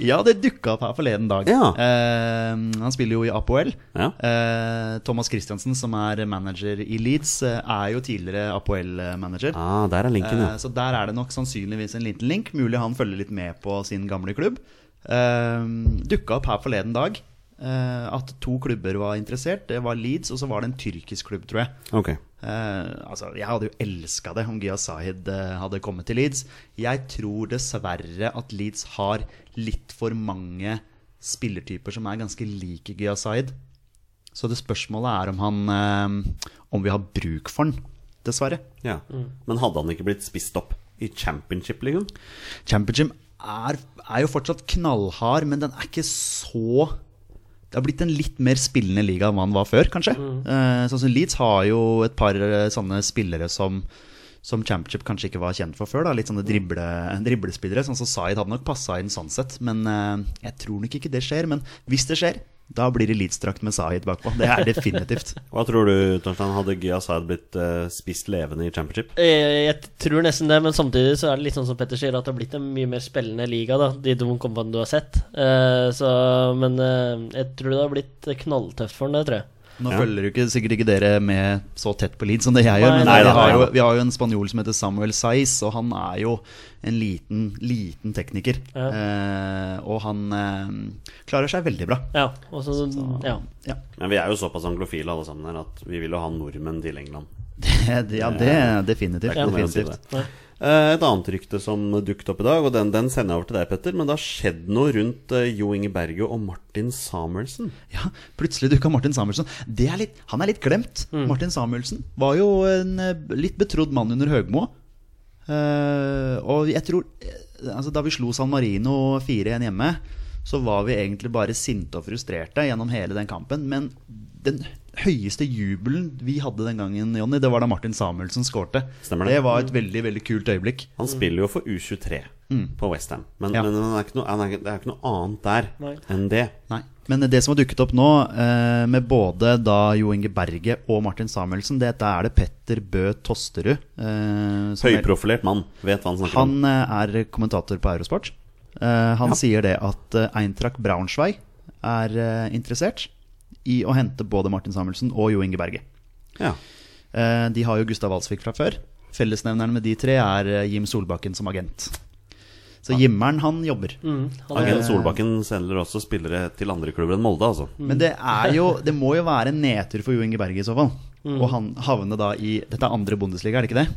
S4: Ja, det dukka opp her forleden dag.
S1: Ja.
S4: Eh, han spiller jo i Apoel.
S1: Ja.
S4: Eh, Thomas Christiansen, som er manager i Leeds, eh, er jo tidligere Apoel-manager.
S1: Ah, der er linken, ja.
S4: Eh, Så der er det nok sannsynligvis en liten link. Mulig han følger litt med på sin gamle klubb. Eh, Dukka opp her forleden dag eh, at to klubber var interessert. Det var Leeds, og så var det en tyrkisk klubb, tror jeg.
S1: Ok.
S4: Eh, altså, jeg hadde jo elska det om Giyas Sahid eh, hadde kommet til Leeds. Jeg tror dessverre at Leeds har litt for mange spillertyper som er ganske like Giyas Sahid. Så det spørsmålet er om han eh, Om vi har bruk for han, dessverre.
S1: Ja. Men hadde han ikke blitt spist opp i championship, liksom?
S4: Championship er, er jo fortsatt knallhard, men den er ikke så Det har blitt en litt mer spillende liga enn hva den var før, kanskje. Eh, sånn som Leeds har jo et par eh, sånne spillere som som Championship kanskje ikke var kjent for før. Da. Litt sånne drible, driblespillere. Sånn som Zaid hadde nok passa inn sånn sett. Men eh, jeg tror nok ikke det skjer. Men hvis det skjer, da blir det Leeds-drakt med Zaid bakpå. Det er definitivt.
S1: Hva tror du, Torstein? Hadde Gya Said blitt eh, spist levende i championship?
S3: Eh, Jeg tror nesten det, men samtidig så er det litt sånn som Petter sier, at det har blitt en mye mer spillende liga, da, de to kampene du har sett. Eh, Så, men eh, jeg tror det har blitt knalltøft for den, det tror jeg.
S4: Nå
S1: Ja.
S4: følger jo ikke, sikkert ikke dere med så tett på Leeds som det jeg gjør,
S3: Nei,
S4: men
S3: nei,
S4: vi,
S1: nei,
S4: har
S1: nei.
S4: jo, vi har jo en spanjol som heter Samuel Saiz, og han er jo en liten, liten tekniker.
S3: Ja.
S4: Eh, og han eh, klarer seg veldig bra.
S3: Ja, og så, ja.
S4: Ja,
S1: Men vi er jo såpass anglofile alle sammen her at vi vil jo ha nordmenn til England.
S4: det, ja det er
S1: Det
S4: definitivt.
S1: er ikke noe mer å si om
S4: definitivt.
S1: det. Eh, Et annet rykte som dukket opp i dag, og den, den sender jeg over til deg, Petter. Men det har skjedd noe rundt eh, Jo Inge Berge og Martin Samuelsen.
S4: Ja, plutselig dukka Martin Samuelsen. Det er litt, han er litt glemt.
S1: Mm.
S4: Martin Samuelsen var jo en eh, litt betrodd mann under Høgmo. Eh, og jeg tror eh, altså, Da vi slo San Marino 4-1 hjemme, så var vi egentlig bare sinte og frustrerte gjennom hele den kampen. Men den høyeste jubelen vi hadde den gangen, Jonny, det var da Martin Samuelsen skårte.
S1: Stemmer det. Mm.
S4: det var et veldig veldig kult øyeblikk.
S1: Han spiller jo for U23 på Westham, men,
S4: Mm. Ja.
S1: men han er ikke noe, han er, ikke- det er ikke noe annet der enn det.
S4: Nei. Men det som har dukket opp nå, eh, med både da Jo Inge Berge og Martin Samuelsen, dette er det Petter Bø Tosterud. eh, som-
S1: Høyprofilert mann. Vet hva han snakker om.
S4: Han eh, er kommentator på Eurosport. Eh, han sier det at eh, Eintracht Braunschweig er eh, interessert i å hente både Martin Samuelsen og Jo Inge Berge.
S1: Ja.
S4: Eh, De har jo Gustav Alsvik fra før. Fellesnevneren med de tre er eh, Jim Solbakken som agent. Så Jimmeren, han jobber.
S3: Han er,
S4: Eh.
S1: Agent Solbakken selger også spillere til andre klubber enn Molde, altså.
S4: Men det, er jo, det må jo være en nedtur for Jo Inge Berge i så fall. Og han havne da i Dette er andre Bundesliga, er det ikke det?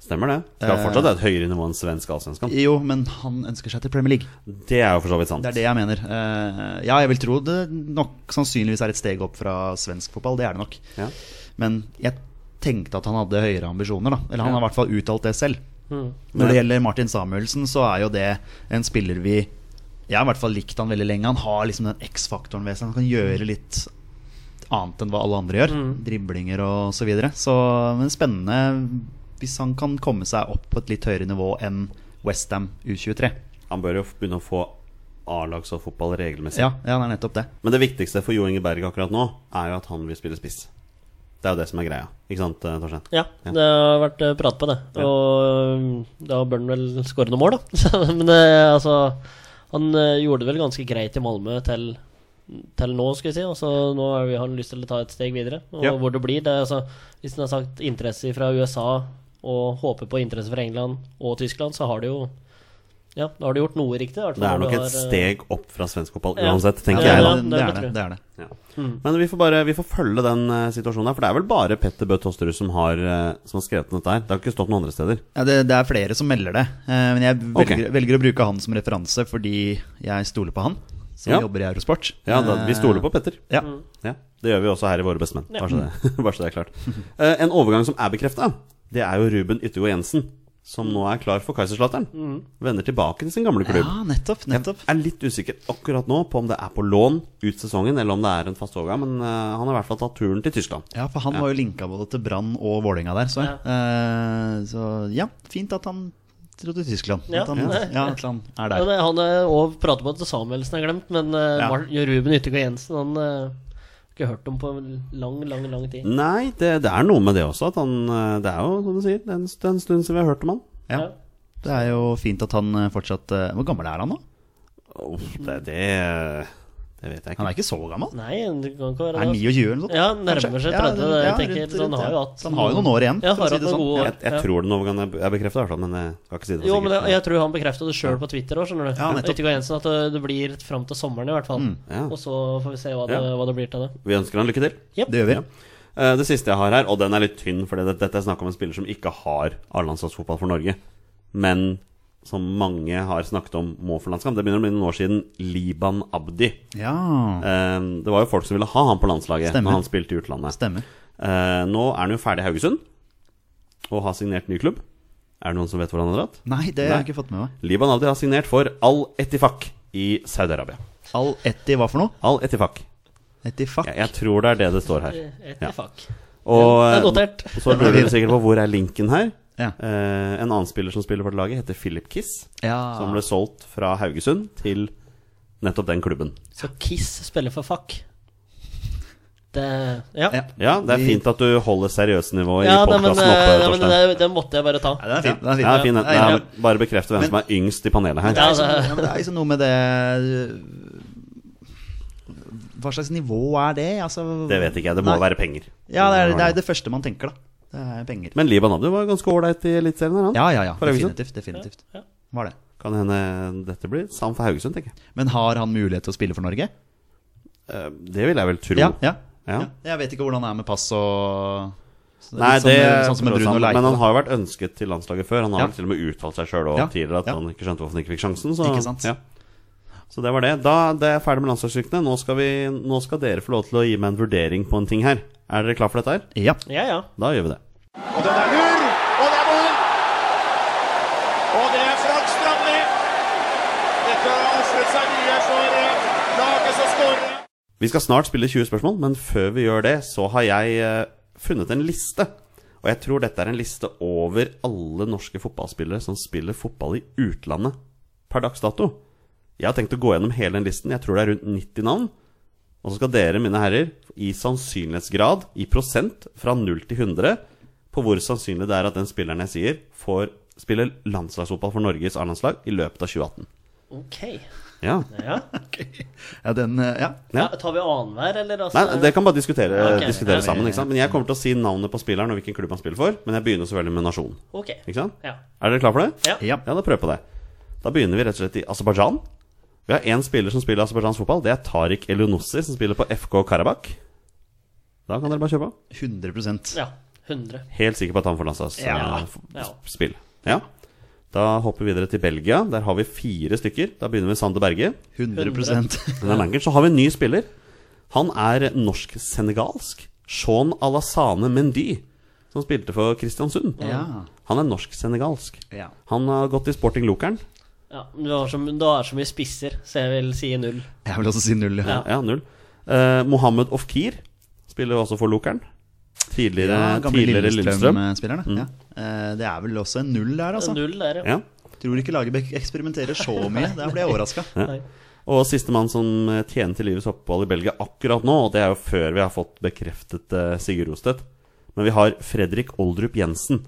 S1: Stemmer det. Skal
S4: Eh.
S1: fortsatt ha et høyere nivå enn svensk allsvenskan.
S4: Jo, men han ønsker seg til Premier League.
S1: Det er jo for så vidt sant.
S4: Det er det jeg mener. Eh, ja, jeg vil tro det nok sannsynligvis er et steg opp fra svensk fotball. Det er det nok.
S1: Ja.
S4: Men jeg tenkte at han hadde høyere ambisjoner, da. Eller han
S1: Ja. Mm.
S4: har i hvert fall uttalt det selv. Når det gjelder Martin Samuelsen, så er jo det en spiller vi Jeg har i hvert fall likt han veldig lenge. Han har liksom den X-faktoren ved seg. Han kan gjøre litt annet enn hva alle andre gjør.
S1: Mm.
S4: Driblinger og så videre. Så men spennende hvis han kan komme seg opp på et litt høyere nivå enn Westham U23.
S1: Han bør jo begynne å få A-lags og fotball regelmessig.
S4: Ja, ja, det er nettopp det.
S1: Men det viktigste for Jo Inge Berg akkurat nå, er jo at han vil spille spiss. Det er jo det som er greia. Ikke sant, eh, Torstein?
S3: ja, det har vært eh, prat på det.
S1: Ja.
S3: Og mm, da bør han vel skåre noen mål, da. Så, Men eh, altså Han eh, gjorde det vel ganske greit i Malmö til, til nå, skal jeg si. Og så nå har vi- har han lyst til å ta et steg videre. Og
S1: Ja.
S3: hvor det blir, det er altså Hvis han har sagt interesse fra USA, og håper på interesse fra England og Tyskland, så har det jo Ja, da har du gjort noe riktig. i hvert
S1: Det
S3: fall
S1: er
S3: når
S1: nok
S3: du
S1: et
S3: har, eh,
S1: steg opp fra svensk fotball
S3: Ja.
S1: uansett, tenker
S3: Ja,
S1: jeg.
S3: ja.
S1: da
S3: det Mm.
S4: det,
S3: vil
S4: er
S3: jeg
S4: det,
S3: tro.
S4: det er det.
S1: Ja. Men vi får bare vi får følge den eh, situasjonen her, for det er vel bare Petter Bø Tosterud som, har, eh, som har skrevet dette her. Det har ikke stått noen andre steder.
S4: Ja, det, det er flere som melder det. Eh, men jeg velger,
S1: Ok.
S4: velger å bruke han som referanse fordi jeg stoler på han, som
S1: Ja.
S4: jobber i Eurosport. Eh,
S1: Ja, da, Vi stoler på Petter.
S4: Ja.
S3: Mm.
S1: Ja, Det gjør vi også her i Våre bestemenn. Bare, så det- bare så det er klart. Eh, en overgang som er bekrefta, det er jo Ruben Yttergård Jensen. Som nå er klar for Kaiserslautern.
S3: Mm.
S1: Vender tilbake til sin gamle klubb.
S4: ja, nettopp. nettopp.
S1: Jeg er litt usikker akkurat nå på om det er på lån ut sesongen, eller om det er en fast overgang, men eh, han har i hvert fall tatt turen til Tyskland.
S4: Ja, for han var jo linka både til Brann og Vålerenga der, så jeg. Eh, så ja, fint at han dro til Tyskland.
S3: Ja.
S4: At han, ja, at han
S3: Ja,
S4: er der.
S3: det, han eh, og prater på at Samuelsen er glemt, men eh,
S4: Ja.
S3: Mar- Ruben Yttergård Jensen Han eh, har ikke hørt om på lang, lang lang tid.
S1: Nei, det, det er noe med det også. At han, eh, det er jo, som du sier, det er en, det er en stund siden vi har hørt om han.
S4: Ja. Det er jo fint at han eh, fortsatt eh, Hvor gammel er han nå?
S1: Uff, det, det, det vet jeg
S4: Han
S1: ikke.
S4: er ikke så gammel.
S3: Nei, det kan ikke
S4: Er
S3: være
S4: han
S3: det.
S4: 29 eller noe sånt?
S3: Ja, nærmer seg 30.
S4: Kanskje.
S3: det,
S4: Ja,
S3: jeg tenker, så
S4: rundt-
S3: han
S4: rundt,
S3: har
S4: ja.
S3: jo hatt
S4: Så han har jo noen år igjen,
S3: Ja,
S4: for å
S3: har
S4: si
S3: hatt noen
S4: det sånn.
S3: gode år.
S1: Jeg, jeg
S3: ja.
S1: tror den overgangen er, er bekreftet i hvert fall, men jeg skal ikke si det
S3: Jo, men
S1: sikkert.
S3: jeg, jeg tror han bekrefta det sjøl på Twitter òg, skjønner du.
S4: Ja, nettopp.
S3: Yttergård Jensen, at det, det blir fram til sommeren i hvert fall.
S1: Ja.
S3: Og så får vi se hva det,
S1: Ja.
S3: hva det blir til det.
S1: Vi ønsker han lykke til.
S4: Det gjør vi.
S1: Ja. Eh, Det siste jeg har her, og den er litt tynn, for dette er snakk om en spiller som ikke har A-landslagsfotball for Norge, men som mange har snakket om må for landskamp. Det begynner å bli noen år siden Liban Abdi.
S4: Ja,
S1: Eh, Det var jo folk som ville ha han på landslaget
S4: Stemmer.
S1: når han spilte i utlandet.
S4: stemmer.
S1: Eh, Nå er han jo ferdig i Haugesund og har signert ny klubb. Er det noen som vet hvor han har dratt?
S4: Nei, det har
S1: Nei.
S4: jeg ikke fått med meg.
S1: Liban Abdi har signert for Al-Etifak i Saudi-Arabia.
S4: Al-Etti hva for noe?
S1: Al-Etifak.
S4: Etifak.
S1: Jeg, jeg tror det er det det står her.
S3: Et
S1: Ja.
S3: fuck.
S1: Og, eh,
S3: Det er notert.
S1: og så lurer du sikkert på hvor er linken her.
S4: Ja.
S1: Eh, en annen spiller som spiller for det laget, heter Philip Kiss.
S4: Ja.
S3: Ah.
S1: Som ble solgt fra Haugesund til nettopp den klubben.
S3: Så Kiss spiller for fuck. Det Ja.
S4: Ja.
S1: Ja, det er
S4: Vi-
S1: fint at du holder seriøsnivået
S3: Ja,
S1: i
S3: nei, men,
S1: podkasten
S3: eh,
S1: oppe,
S3: nei, men
S1: Torstein.
S3: det, det måtte jeg bare ta.
S4: Nei, den er fin. Den er fin.
S1: Ja, fin. den.
S4: Ja, ja.
S1: Nei, Bare bekrefte hvem som er yngst i panelet her.
S3: Ja,
S4: Det er
S3: det-
S4: liksom- ja, men det er liksom noe med det Hva slags nivå er det? Altså,
S1: Det vet ikke jeg. Det må
S4: Nei.
S1: være penger.
S4: Ja, det er, det er det første man tenker, da. Det er penger.
S1: Men Liban Abdi var ganske ålreit i Eliteserien. her, han.
S4: Ja, ja, ja.
S1: For Haugesund.
S4: Definitivt. definitivt.
S3: Ja, ja.
S4: Var det.
S1: Kan hende dette blir samt for Haugesund, tenker jeg.
S4: Men har han mulighet til å spille for Norge?
S1: Eh, Det vil jeg vel tro.
S4: Ja, ja.
S1: Ja.
S4: ja. Jeg vet ikke hvordan det er med pass og Så
S1: Nei,
S4: litt
S1: det
S4: sånn, sånn som med
S1: tror jeg
S4: Bruno
S1: sant,
S4: Leite.
S1: eh, Men han
S4: da.
S1: har jo vært ønsket til landslaget før. Han har
S4: Ja.
S1: vel til og med uttalt seg sjøl
S4: Ja.
S1: tidligere at
S4: Ja.
S1: han ikke skjønte hvorfor han ikke fikk sjansen. Så,
S4: Ikke sant.
S1: Ja. så det var det. Da det er jeg ferdig med landslagsryktene. Nå, skal vi- nå skal dere få lov til å gi meg en vurdering på en ting her. Er dere klar for dette her?
S4: Ja.
S3: ja. ja.
S1: Da gjør vi det.
S6: Og den er lur! Og det er mål! Og det er Frank Strandli. Dette har ofret seg mye for eh, laget som skårer.
S1: Vi skal snart spille 20 spørsmål, men før vi gjør det, så har jeg eh, funnet en liste. Og jeg tror dette er en liste over alle norske fotballspillere som spiller fotball i utlandet per dags dato. Jeg har tenkt å gå gjennom hele den listen. Jeg tror det er rundt 90 navn. Og så skal dere, mine herrer, i sannsynlighetsgrad, i prosent, fra 0 til 100, på hvor sannsynlig det er at den spilleren jeg sier, får spille landslagsfotball for Norges A-landslag i løpet av 2018.
S3: Ok.
S1: Ja.
S3: Ja.
S4: ja, den eh, Ja.
S1: Ja.
S3: Ja, tar vi annenhver, eller? Altså,
S1: Nei, nei, dere kan bare diskutere,
S3: Ok.
S1: diskutere
S3: Ja, vi-
S1: sammen. ikke sant? Men Jeg kommer til å si navnet på spilleren og hvilken klubb han spiller for. Men jeg begynner selvfølgelig med nasjon.
S3: Ok.
S1: Ikke sant?
S3: Ja.
S1: Er dere klar for det?
S3: Ja.
S4: ja.
S1: Ja, da prøver vi på det. Da begynner vi rett og slett i Aserbajdsjan. Vi har én spiller som spiller Aserbajdsjans fotball. Det er Tariq Elionossi, som spiller på FK Karabakh. Da kan dere bare kjøpe.
S4: 100
S3: ja. 100.
S1: Helt sikker på at han får
S3: Ja. Ja.
S1: landslagsspill. Ja. Da hopper vi videre til Belgia. Der har vi fire stykker. Da begynner vi med Sander Berge.
S4: 100
S1: Den er manager. Så har vi en ny spiller. Han er norsk-senegalsk. Sean Alassane Mendy, som spilte for Kristiansund.
S4: Ja.
S1: Han er norsk-senegalsk.
S4: Ja.
S1: Han har gått i Sporting Lokeren.
S3: Ja, men du har så, du har så mye spisser, så jeg vil si null.
S4: Jeg vil også si null. Ja.
S1: Ja, null. Eh, Mohammed Ofkir spiller også for Lokeren. Tidligere, tidligere Lillestrøm. Mm.
S4: Lillestrøm-spillerne. Ja. Eh, Det er vel også en null der, altså.
S3: Null der, ja.
S1: Ja.
S4: Tror ikke laget eksperimenterer så mye. Der ble jeg overraska.
S3: Nei.
S1: Og sistemann som eh, tjener til livets opphold i Belgia akkurat nå, og det er jo før vi har fått bekreftet eh, Sigurd Rostedt, men vi har Fredrik Oldrup Jensen,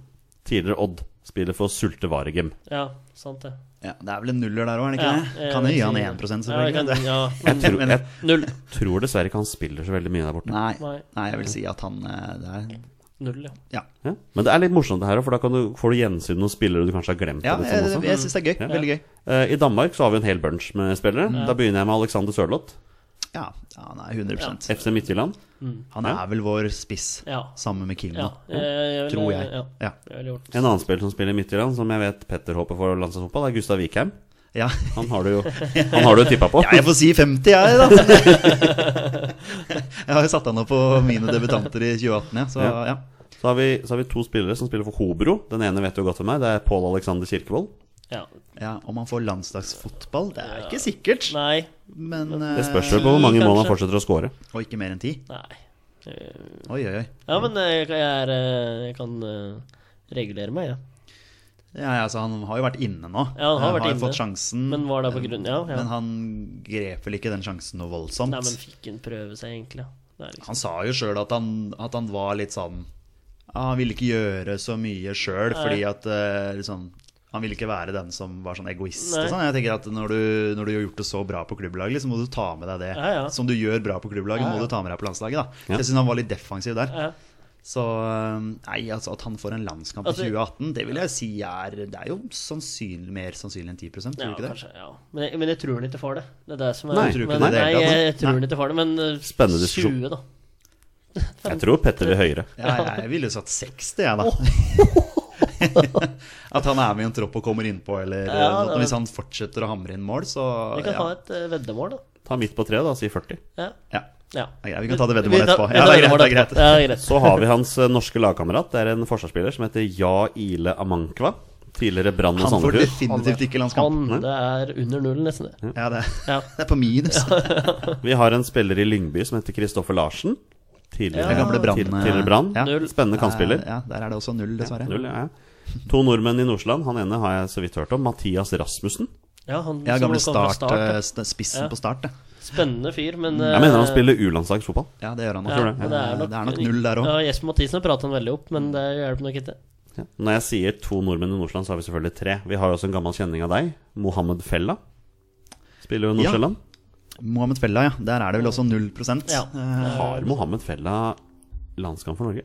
S1: tidligere Odd, spiller for Sulte Varegem.
S3: Ja, sant det.
S4: Ja, det er vel en nuller der òg, er det ikke
S3: Ja, eh,
S4: det?
S3: jeg
S4: Kan jo
S3: vil
S4: gi han
S3: si- Ja,
S4: 1
S3: jeg
S4: selvfølgelig.
S3: kan-
S4: det.
S3: ja,
S1: Jeg tror,
S4: Men-
S1: jeg
S3: null.
S1: tror dessverre ikke han spiller så veldig mye der borte.
S4: Nei.
S3: Nei.
S4: Nei, jeg vil si at han eh, det er,
S3: Null, ja.
S4: Ja,
S1: Ja. Men det er litt morsomt det her, for da kan du, får du gjensyn med noen spillere du kanskje har glemt.
S4: ja
S1: og litt
S4: jeg,
S1: sånn også.
S4: jeg, syns det er gøy.
S1: Ja.
S4: Veldig gøy.
S1: Eh, I Danmark så har vi en hel bunch med spillere. Da begynner jeg med Alexander Sørloth,
S4: Ja, ja han er 100
S1: FC Midtjylland.
S4: Han er vel vår spiss,
S3: Ja.
S4: sammen med Kim,
S3: ja. eh,
S4: da.
S3: jeg vil-
S4: Tror jeg.
S3: Ja.
S4: Ja.
S3: Jeg ville gjort det.
S1: En annen spiller som spiller i Midtjylland, som jeg vet Petter håper for landslagsfotball, er Gustav Wikheim.
S4: Ja.
S1: Han har du jo, han har du jo tippa på.
S4: Ja, jeg får si 50, jeg, da. Jeg har jo satt han opp på mine debutanter i 2018, ja. Så
S1: Ja.
S4: ja.
S1: Så har, vi, så har vi to spillere som spiller for Hobro. Den ene vet jo godt hvem er. Det er Pål Alexander Kirkevold.
S3: Ja.
S4: ja. Om han får landslagsfotball, det er ikke sikkert.
S3: Nei.
S4: Men
S1: Det
S4: eh,
S1: spørs jo på hvor mange mål han fortsetter å score.
S4: Og ikke mer enn ti.
S3: Nei. Eh,
S4: Oi, oi, oi.
S3: Ja, men eh, jeg kan, jeg er, eh, jeg kan eh, regulere meg, jeg.
S4: Ja, ja, altså, han har jo vært inne nå.
S3: Ja, han har vært
S4: jo
S3: inne.
S4: fått sjansen.
S3: Men var det på grunn Ja, ja.
S4: Mm. Men han grep vel ikke den sjansen noe voldsomt.
S3: Nei, men fikk han prøve seg, egentlig? Det er liksom
S4: Han sa jo sjøl at, han- at han «Ah, var litt sånn ja, Han ville ikke gjøre så mye sjøl, fordi at eh, liksom Han ville ikke være den som var sånn egoist.
S3: Nei.
S4: Og sånn. Jeg tenker at når du, når du har gjort det så bra på klubblaget, liksom, må du ta med deg det.
S3: Ja, ja.
S4: Som du gjør bra på klubblaget, må du ta med deg på landslaget. Da. Så jeg syns han var litt defensiv der.
S3: Ja.
S4: Så øhm, nei, altså At han får en landskamp
S3: Altså-
S4: i 2018, det vil jeg si er Det er jo sannsynlig, mer sannsynlig enn 10 tror du
S3: Ja,
S4: ikke det?
S3: kanskje, ja. Men, jeg, men jeg tror han ikke får det. Det er det som er
S4: Nei, jeg tror ikke
S3: men,
S4: det i det
S3: Nei,
S4: hele
S3: jeg,
S4: tatt, nei.
S3: jeg tror han ikke får det, men eh,
S1: Spennende diskusjon.
S3: 20, da.
S1: Jeg tror Petter vil høyere.
S4: Ja, jeg, jeg ville jo satt 60, jeg, da. at han er med i en tropp og kommer innpå, eller
S3: Ja,
S4: noe sånt.
S3: det-
S4: Hvis han fortsetter å hamre inn mål, så
S3: Vi kan
S4: ja.
S3: ha et eh, veddemål, da.
S1: Ta midt på treet, da, si 40.
S3: Ja.
S4: ja.
S3: ja.
S4: Det er greit, vi kan ta det veddemålet
S3: Vi tar-
S4: etterpå.
S3: vi tar
S4: Ja, det er greit.
S3: veddemålet
S4: Det er greit.
S3: etterpå. Ja, det er greit.
S1: Så har vi hans eh, norske lagkamerat. Det er en forsvarsspiller som heter Ja Ile Amankwa. Tidligere Brann og
S4: Han får
S1: Sandefjord.
S4: definitivt ikke landskamp.
S3: Han, det er under nullen, nesten. det.
S4: Ja, det,
S3: Ja.
S4: det er på minus.
S1: Vi har en spiller i Lyngby som heter Kristoffer Larsen. Tidligere
S4: Den gamle Brann,
S1: tid- tidligere Brann.
S4: ja.
S3: Null.
S1: Spennende kantspiller.
S4: Ja, der er det også null, dessverre.
S1: Null, ja, ja. To nordmenn i Nordsjøland. Han ene har jeg så vidt hørt om. Mathias Rasmussen.
S3: Ja, han
S4: Ja,
S3: som
S4: gamle
S3: kom fra
S4: start,
S3: ja.
S4: eh, st- spissen
S3: Ja.
S4: på start. det.
S3: Spennende fyr, men eh,
S1: Jeg mener han spiller U-landslagsfotball.
S4: Ja, det gjør han nok.
S3: ja, men det, er nok,
S4: det er nok null der òg.
S3: Ja, Jesper Mathisen har pratet han veldig opp, men det hjelper nok ikke.
S1: Ja. Når jeg sier to nordmenn i Nordsjøland, så har vi selvfølgelig tre. Vi har jo også en gammel kjenning av deg. Mohammed Fella. Spiller jo i
S4: Ja.
S1: Nordsjøland.
S4: Mohammed Fella, ja. Der er det vel også null prosent.
S3: Ja.
S4: Eh,
S1: Har Mohammed Fella landskamp for Norge?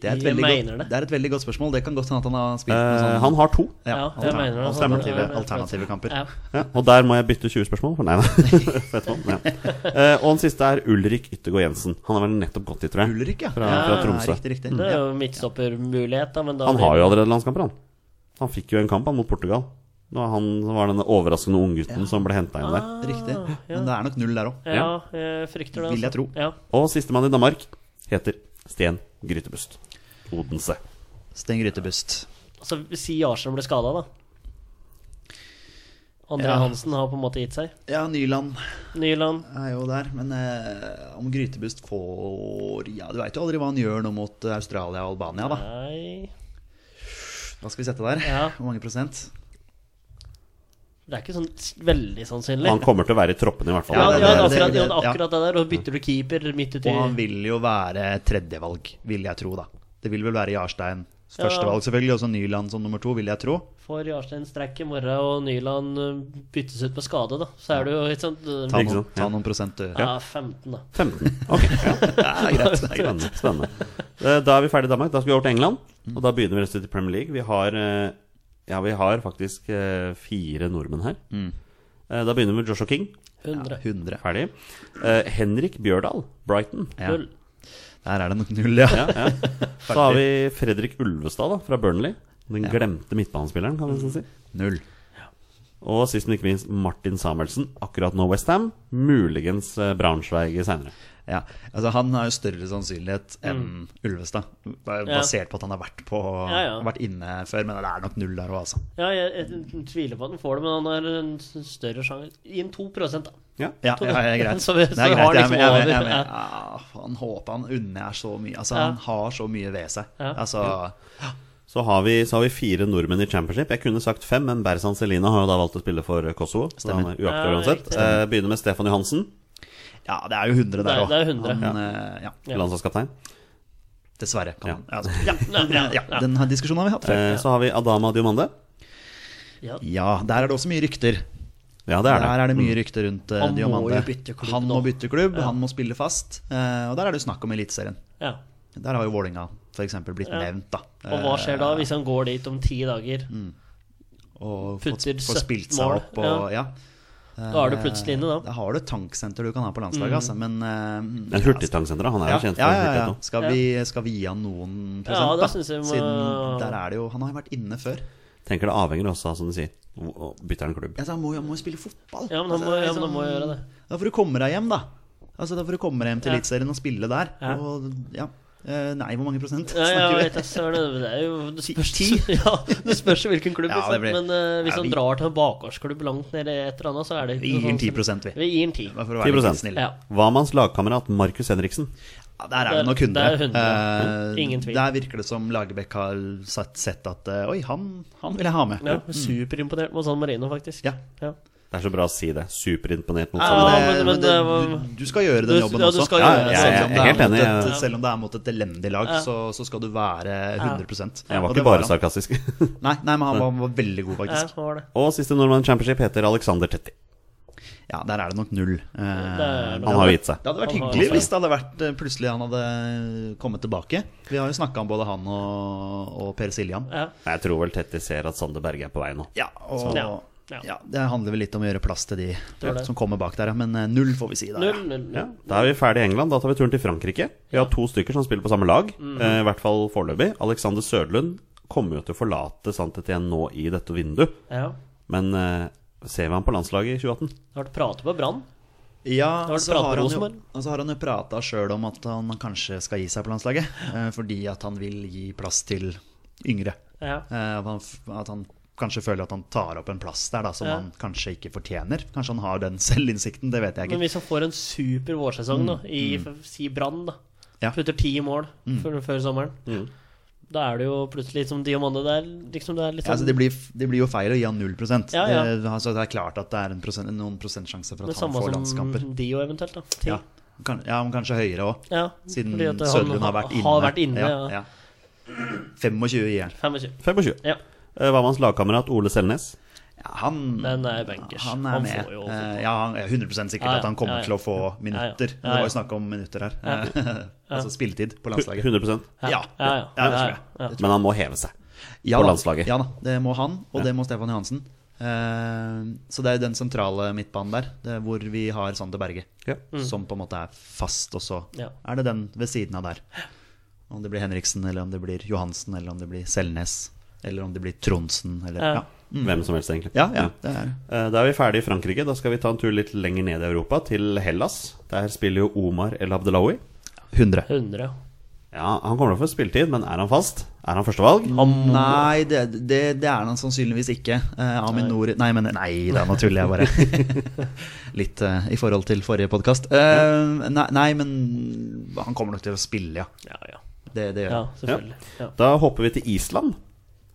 S4: Det er, et
S3: Jeg
S4: veldig
S3: mener
S4: godt,
S3: det.
S4: det er et veldig godt spørsmål. Det kan godt hende at han har spilt med
S1: Eh,
S4: sånn
S1: han har to.
S4: ja,
S3: Ja, jeg
S4: alter-
S3: mener det.
S4: alternative,
S3: Han har-
S4: alternative kamper.
S3: Ja.
S1: Ja, og der må jeg bytte 20 spørsmål? For nei, nei. Fett mann, ja. Eh, og den siste er Ulrik Yttergård Jensen. Han har vel nettopp gått dit, tror jeg.
S4: Ulrik, ja.
S1: Fra-
S4: ja,
S1: fra Tromsø.
S4: ja, Riktig, riktig.
S3: Det er
S4: Ja.
S3: jo midtstoppermulighet, da, men da
S1: Han har jo allerede landskamper, han. Han fikk jo en kamp han mot Portugal. Da han var den overraskende unggutten som ble henta inn der.
S4: Riktig. Men det er nok null der òg.
S3: Ja, jeg frykter det. altså.
S4: Vil jeg tro.
S3: Ja.
S1: Og sistemann i Danmark heter Sten Grytebust. Odense.
S4: Sten Grytebust.
S3: Altså, si Jarsen ble skada, da. André
S4: Ja.
S3: Hansen har på en måte gitt seg.
S4: Ja, Nyland
S3: Nyland.
S4: er jo der, men eh, om Grytebust får Ja, du veit jo aldri hva han gjør nå mot eh, Australia og Albania, da.
S3: Nei
S4: Hva skal vi sette der?
S3: Ja.
S4: Hvor mange prosent?
S3: Det er ikke sånn s- veldig sannsynlig.
S1: Han kommer til å være i troppene, i hvert fall.
S3: ja,
S1: Det er
S3: ja,
S1: det-
S4: det-
S3: akkurat,
S4: det-
S3: ja, akkurat det der. Og bytter du keeper midt uti
S4: Og han vil jo være tredjevalg, vil jeg tro, da. Det vil vel være Jarstein. Førstevalg, selvfølgelig. Og så Nyland som nummer to, vil jeg tro.
S3: Får Jarstein strekk i morgen, og Nyland øh, byttes ut med skade, da. Så er du jo ikke sant øh,
S4: Ta,
S1: Ikke
S4: noen,
S1: sant, ja.
S4: ta noen prosent, du.
S3: Ja, 15, da.
S1: 15. Ok, ja.
S4: Ja, greit. det er greit.
S1: Spennende. spennende. Eh, Da er vi ferdig i Danmark. Da skal vi over til England. Og da begynner vi rett og slett i Premier League. Vi har, eh, ja, vi har faktisk eh, fire nordmenn her. Eh, Da begynner vi med Joshua King.
S3: 100.
S4: 100.
S1: Ferdig. Eh, Henrik Bjørdal, Brighton.
S4: Ja.
S3: Null.
S4: Der er det nok null, ja.
S1: Ja, ja. Så har vi Fredrik Ulvestad da, fra Burnley. Den glemte midtbanespilleren, kan vi nesten si.
S4: Null.
S1: Og sist, men ikke minst, Martin Samuelsen. Akkurat nå Westham. Muligens eh, Braunschweig seinere.
S4: Ja, altså Han har jo større sannsynlighet enn Ulvestad, ba-
S3: Mm. Ja.
S4: basert på at han har vært, på,
S3: Ja, ja.
S4: vært inne før. Men det er nok null der òg, altså.
S3: Ja, jeg, jeg, tviler på at han får det, men han har en s- større sjanse. Gi ham 2 da.
S1: Ja.
S4: Ja, ja, ja, greit.
S3: Så vi-
S4: Det
S3: så vi
S4: er
S3: har
S4: greit. Jeg er
S3: liksom
S4: med. Jeg er med, jeg
S3: over.
S4: er med. Ja, Ah, faen, håper han unner er så mye. Altså,
S3: Ja.
S4: han har så mye ved seg.
S3: Ja.
S4: Altså,
S1: Så har, vi, så har vi fire nordmenn i championship. Jeg kunne sagt fem, men Berzan Selina har jo da valgt å spille for Kosovo. Så han
S4: Stemmer.
S1: er uaktuell
S3: Ja,
S1: uansett.
S3: riktig.
S1: Eh, Begynner med Stefan Johansen,
S4: ja, det er jo 100
S3: Det
S4: der
S3: er-
S4: òg.
S3: det er 100.
S4: ja.
S3: Ja.
S1: landslagskaptein.
S4: Dessverre. Kan
S1: Ja.
S4: han. Altså, ja, ja, ja, Den her diskusjonen har vi hatt før.
S1: Eh, Så har vi Adama Diomande.
S4: Ja, der er det også mye rykter.
S1: Ja, det Mm. er det.
S4: Der er det mye rykter rundt eh,
S3: Han må
S4: Diomande.
S3: jo bytte klubb
S4: han må
S3: nå.
S4: bytte klubb, han må spille fast. eh, og der er det jo snakk om Eliteserien.
S3: Ja.
S4: Der har jo Vålinga for eksempel blitt nevnt, da.
S3: Og hva skjer da hvis han går dit om ti dager?
S4: Mm. Eh, Og fått,
S3: putter
S4: fått
S3: 17
S4: spilt seg
S3: mål?
S4: opp og ja.
S3: Da er du plutselig inne, da. Mm.
S4: Da har du et tanksenter du kan ha på landslaget, altså. Men eh,
S1: Men Hurtigtangsenteret, han er
S4: ja,
S1: jo kjent for
S4: ja, ja, ja.
S1: hurtighet nå.
S4: Skal, vi, skal vi gi han noen prosent,
S3: Ja, da
S4: da?
S3: synes jeg vi må-
S4: Siden der er det jo Han har jo vært inne før.
S1: Tenker det avhenger også av, som du sier, hvor- bytter han klubb.
S4: Altså, han må jo han må jo spille fotball.
S3: Ja, men han
S4: Altså,
S3: må,
S4: det er
S3: ja, men han
S4: liksom-
S3: må gjøre det.
S4: Da får du komme deg hjem, da. Altså, da får du komme deg hjem til
S3: Ja.
S4: Eliteserien og spille der.
S3: Ja.
S4: Og, ja. Eh, Nei, hvor mange prosent
S3: Ja, ja,
S4: snakker
S3: vet
S4: vi?
S3: jeg, så er det, det er jo Det
S4: Ti-
S3: spørs,
S4: ti?
S3: ja, det spørs jo hvilken klubb,
S4: Ja,
S3: liksom.
S4: det blir-
S3: men eh, hvis
S4: Ja,
S3: han
S4: vi-
S3: drar til en bakgårdsklubb langt nede i et eller annet, så er det sånn
S4: Vi gir den 10 vi.
S3: Vi gir den 10.
S4: Bare for å være litt
S1: 10%.
S4: snill.
S3: Ja.
S1: Hva med hans lagkamerat Markus Henriksen?
S4: Ja, der er
S3: Der-
S4: det nok 100.
S3: der er 100.
S4: Eh,
S3: Ingen tvil.
S4: Der virker det som Lagerbäck har sett, sett at eh, Oi, han, han vil jeg ha med.
S3: ja Superimponert med San Marino, faktisk.
S4: Ja.
S3: Ja.
S1: Det er så bra å si det. Superimponert mot
S3: Ja,
S1: Sandnes.
S3: men- men det var-
S4: du, du skal gjøre den
S3: Du-
S4: jobben
S3: ja, du
S4: også.
S3: skal gjøre Ja,
S1: det. jeg-
S4: selv,
S1: jeg er
S4: om det er
S1: helt
S4: mot
S1: enig,
S4: et,
S1: ja.
S4: selv om det er mot et elendig lag,
S3: Ja.
S4: så, så skal du være 100
S1: Jeg var ikke
S4: Og det
S1: bare
S4: han.
S1: sarkastisk.
S4: Nei, nei, men han var, var veldig god,
S3: Ja,
S4: faktisk.
S3: hva var det?
S1: Og siste nordmann i championship heter Alexander Tetti.
S4: Ja, der er det nok null. Eh,
S3: er nok-
S1: Han har jo gitt seg.
S4: Det hadde vært
S3: Han har-
S4: hyggelig hvis det hadde vært eh, plutselig han hadde kommet tilbake. Vi har jo snakka om både han og, og Per Siljan.
S3: Ja.
S1: Jeg tror vel Tetti ser at Sander Berge er på vei nå.
S4: Ja, og ja.
S3: Ja, ja.
S4: Det handler vel litt om å gjøre plass til de
S3: er det.
S4: som kommer bak der, ja. men eh, null får vi si der.
S3: Null,
S4: ja.
S3: null,
S1: Ja,
S3: null.
S1: Da er vi ferdig i England. Da tar vi turen til Frankrike. Vi har to stykker som spiller på samme lag,
S4: Mm.
S1: eh, i hvert fall foreløpig. Alexander Sørlund kommer jo til å forlate Santet igjen nå i dette vinduet,
S3: Ja.
S1: men eh, ser vi han på landslaget i 2018?
S3: Det har vært pratet på Brann.
S4: Ja,
S3: Da har du
S4: så
S3: pratet med
S4: har, han jo,
S3: Rosenborg.
S4: og så har han jo prata sjøl om at han kanskje skal gi seg på landslaget, eh, fordi at han vil gi plass til yngre.
S3: Ja.
S4: Eh, at han f- At han kanskje føler at han tar opp en plass der da, som
S3: Ja.
S4: han kanskje ikke fortjener. Kanskje han har den selvinnsikten, det vet jeg
S3: Men
S4: ikke.
S3: hvis han får en super vårsesong da, i f- si Brann, da.
S4: Mm. Ja. Mm.
S3: Putter ti mål før, før sommeren. Da er det jo plutselig som Diamande der. Liksom det er litt
S4: Ja, altså
S3: sånn,
S4: det, blir, f- det blir jo feil å gi han null prosent.
S3: Ja, ja.
S4: Det, altså det er klart at det er en prosent, noen prosentsjanse for
S3: det
S4: at han
S3: samme
S4: får
S3: som
S4: landskamper.
S3: Dio eventuelt. da Ti.
S4: Ja, kan, ja men kanskje høyere òg.
S3: Ja,
S4: Siden
S3: fordi at han
S4: Sørlund har vært inne.
S3: Har vært inne ja,
S4: ja. 25 i jern.
S3: 25.
S1: 25.
S3: Ja.
S1: Eh, Hva med hans lagkamerat Ole Selnes?
S4: Ja, han,
S3: Den er bankers.
S4: han er
S3: Han
S4: med.
S3: får jo
S4: Eh, ja, han er 100 sikkert
S3: Ja, ja.
S4: at han kommer
S3: Ja, ja.
S4: til å få
S3: Ja, ja.
S4: minutter. Det var jo snakk om minutter her. altså spilletid på landslaget.
S1: 100
S4: Ja,
S3: Ja, ja.
S4: ja, det tror jeg.
S3: Ja, ja.
S1: Men han må heve seg.
S4: ja,
S1: på
S4: da.
S1: landslaget.
S4: Ja da, det må han, og det må Stefan Johansen. Eh, så det er jo den sentrale midtbanen der, det er hvor vi har Sander Berge.
S1: Ja.
S4: Som på en måte er fast, og så
S3: Ja.
S4: er det den ved siden av der. Om det blir Henriksen, eller om det blir Johansen, eller om det blir Selnes, eller om det blir Tronsen, eller
S3: Ja.
S4: Ja,
S1: Mm. Hvem som helst, egentlig.
S4: ja, ja det er
S1: Eh, Da er vi ferdig i Frankrike. Da skal vi ta en tur litt lenger ned i Europa, til Hellas. Der spiller jo Omar El Abdelawi.
S4: 100.
S3: 100.
S1: Ja, Han kommer til å få spilletid, men er han fast? Er han førstevalg?
S4: Nei, det, det, det er han sannsynligvis ikke. Eh, Amin Nouri Nei, men nei da, nå tuller jeg bare. Litt eh, i forhold til forrige podkast. nei, nei, men han kommer nok til å spille, ja.
S3: Ja, ja.
S4: Det, det gjør
S3: ja
S4: han.
S3: selvfølgelig. Ja.
S1: Da hopper vi til Island.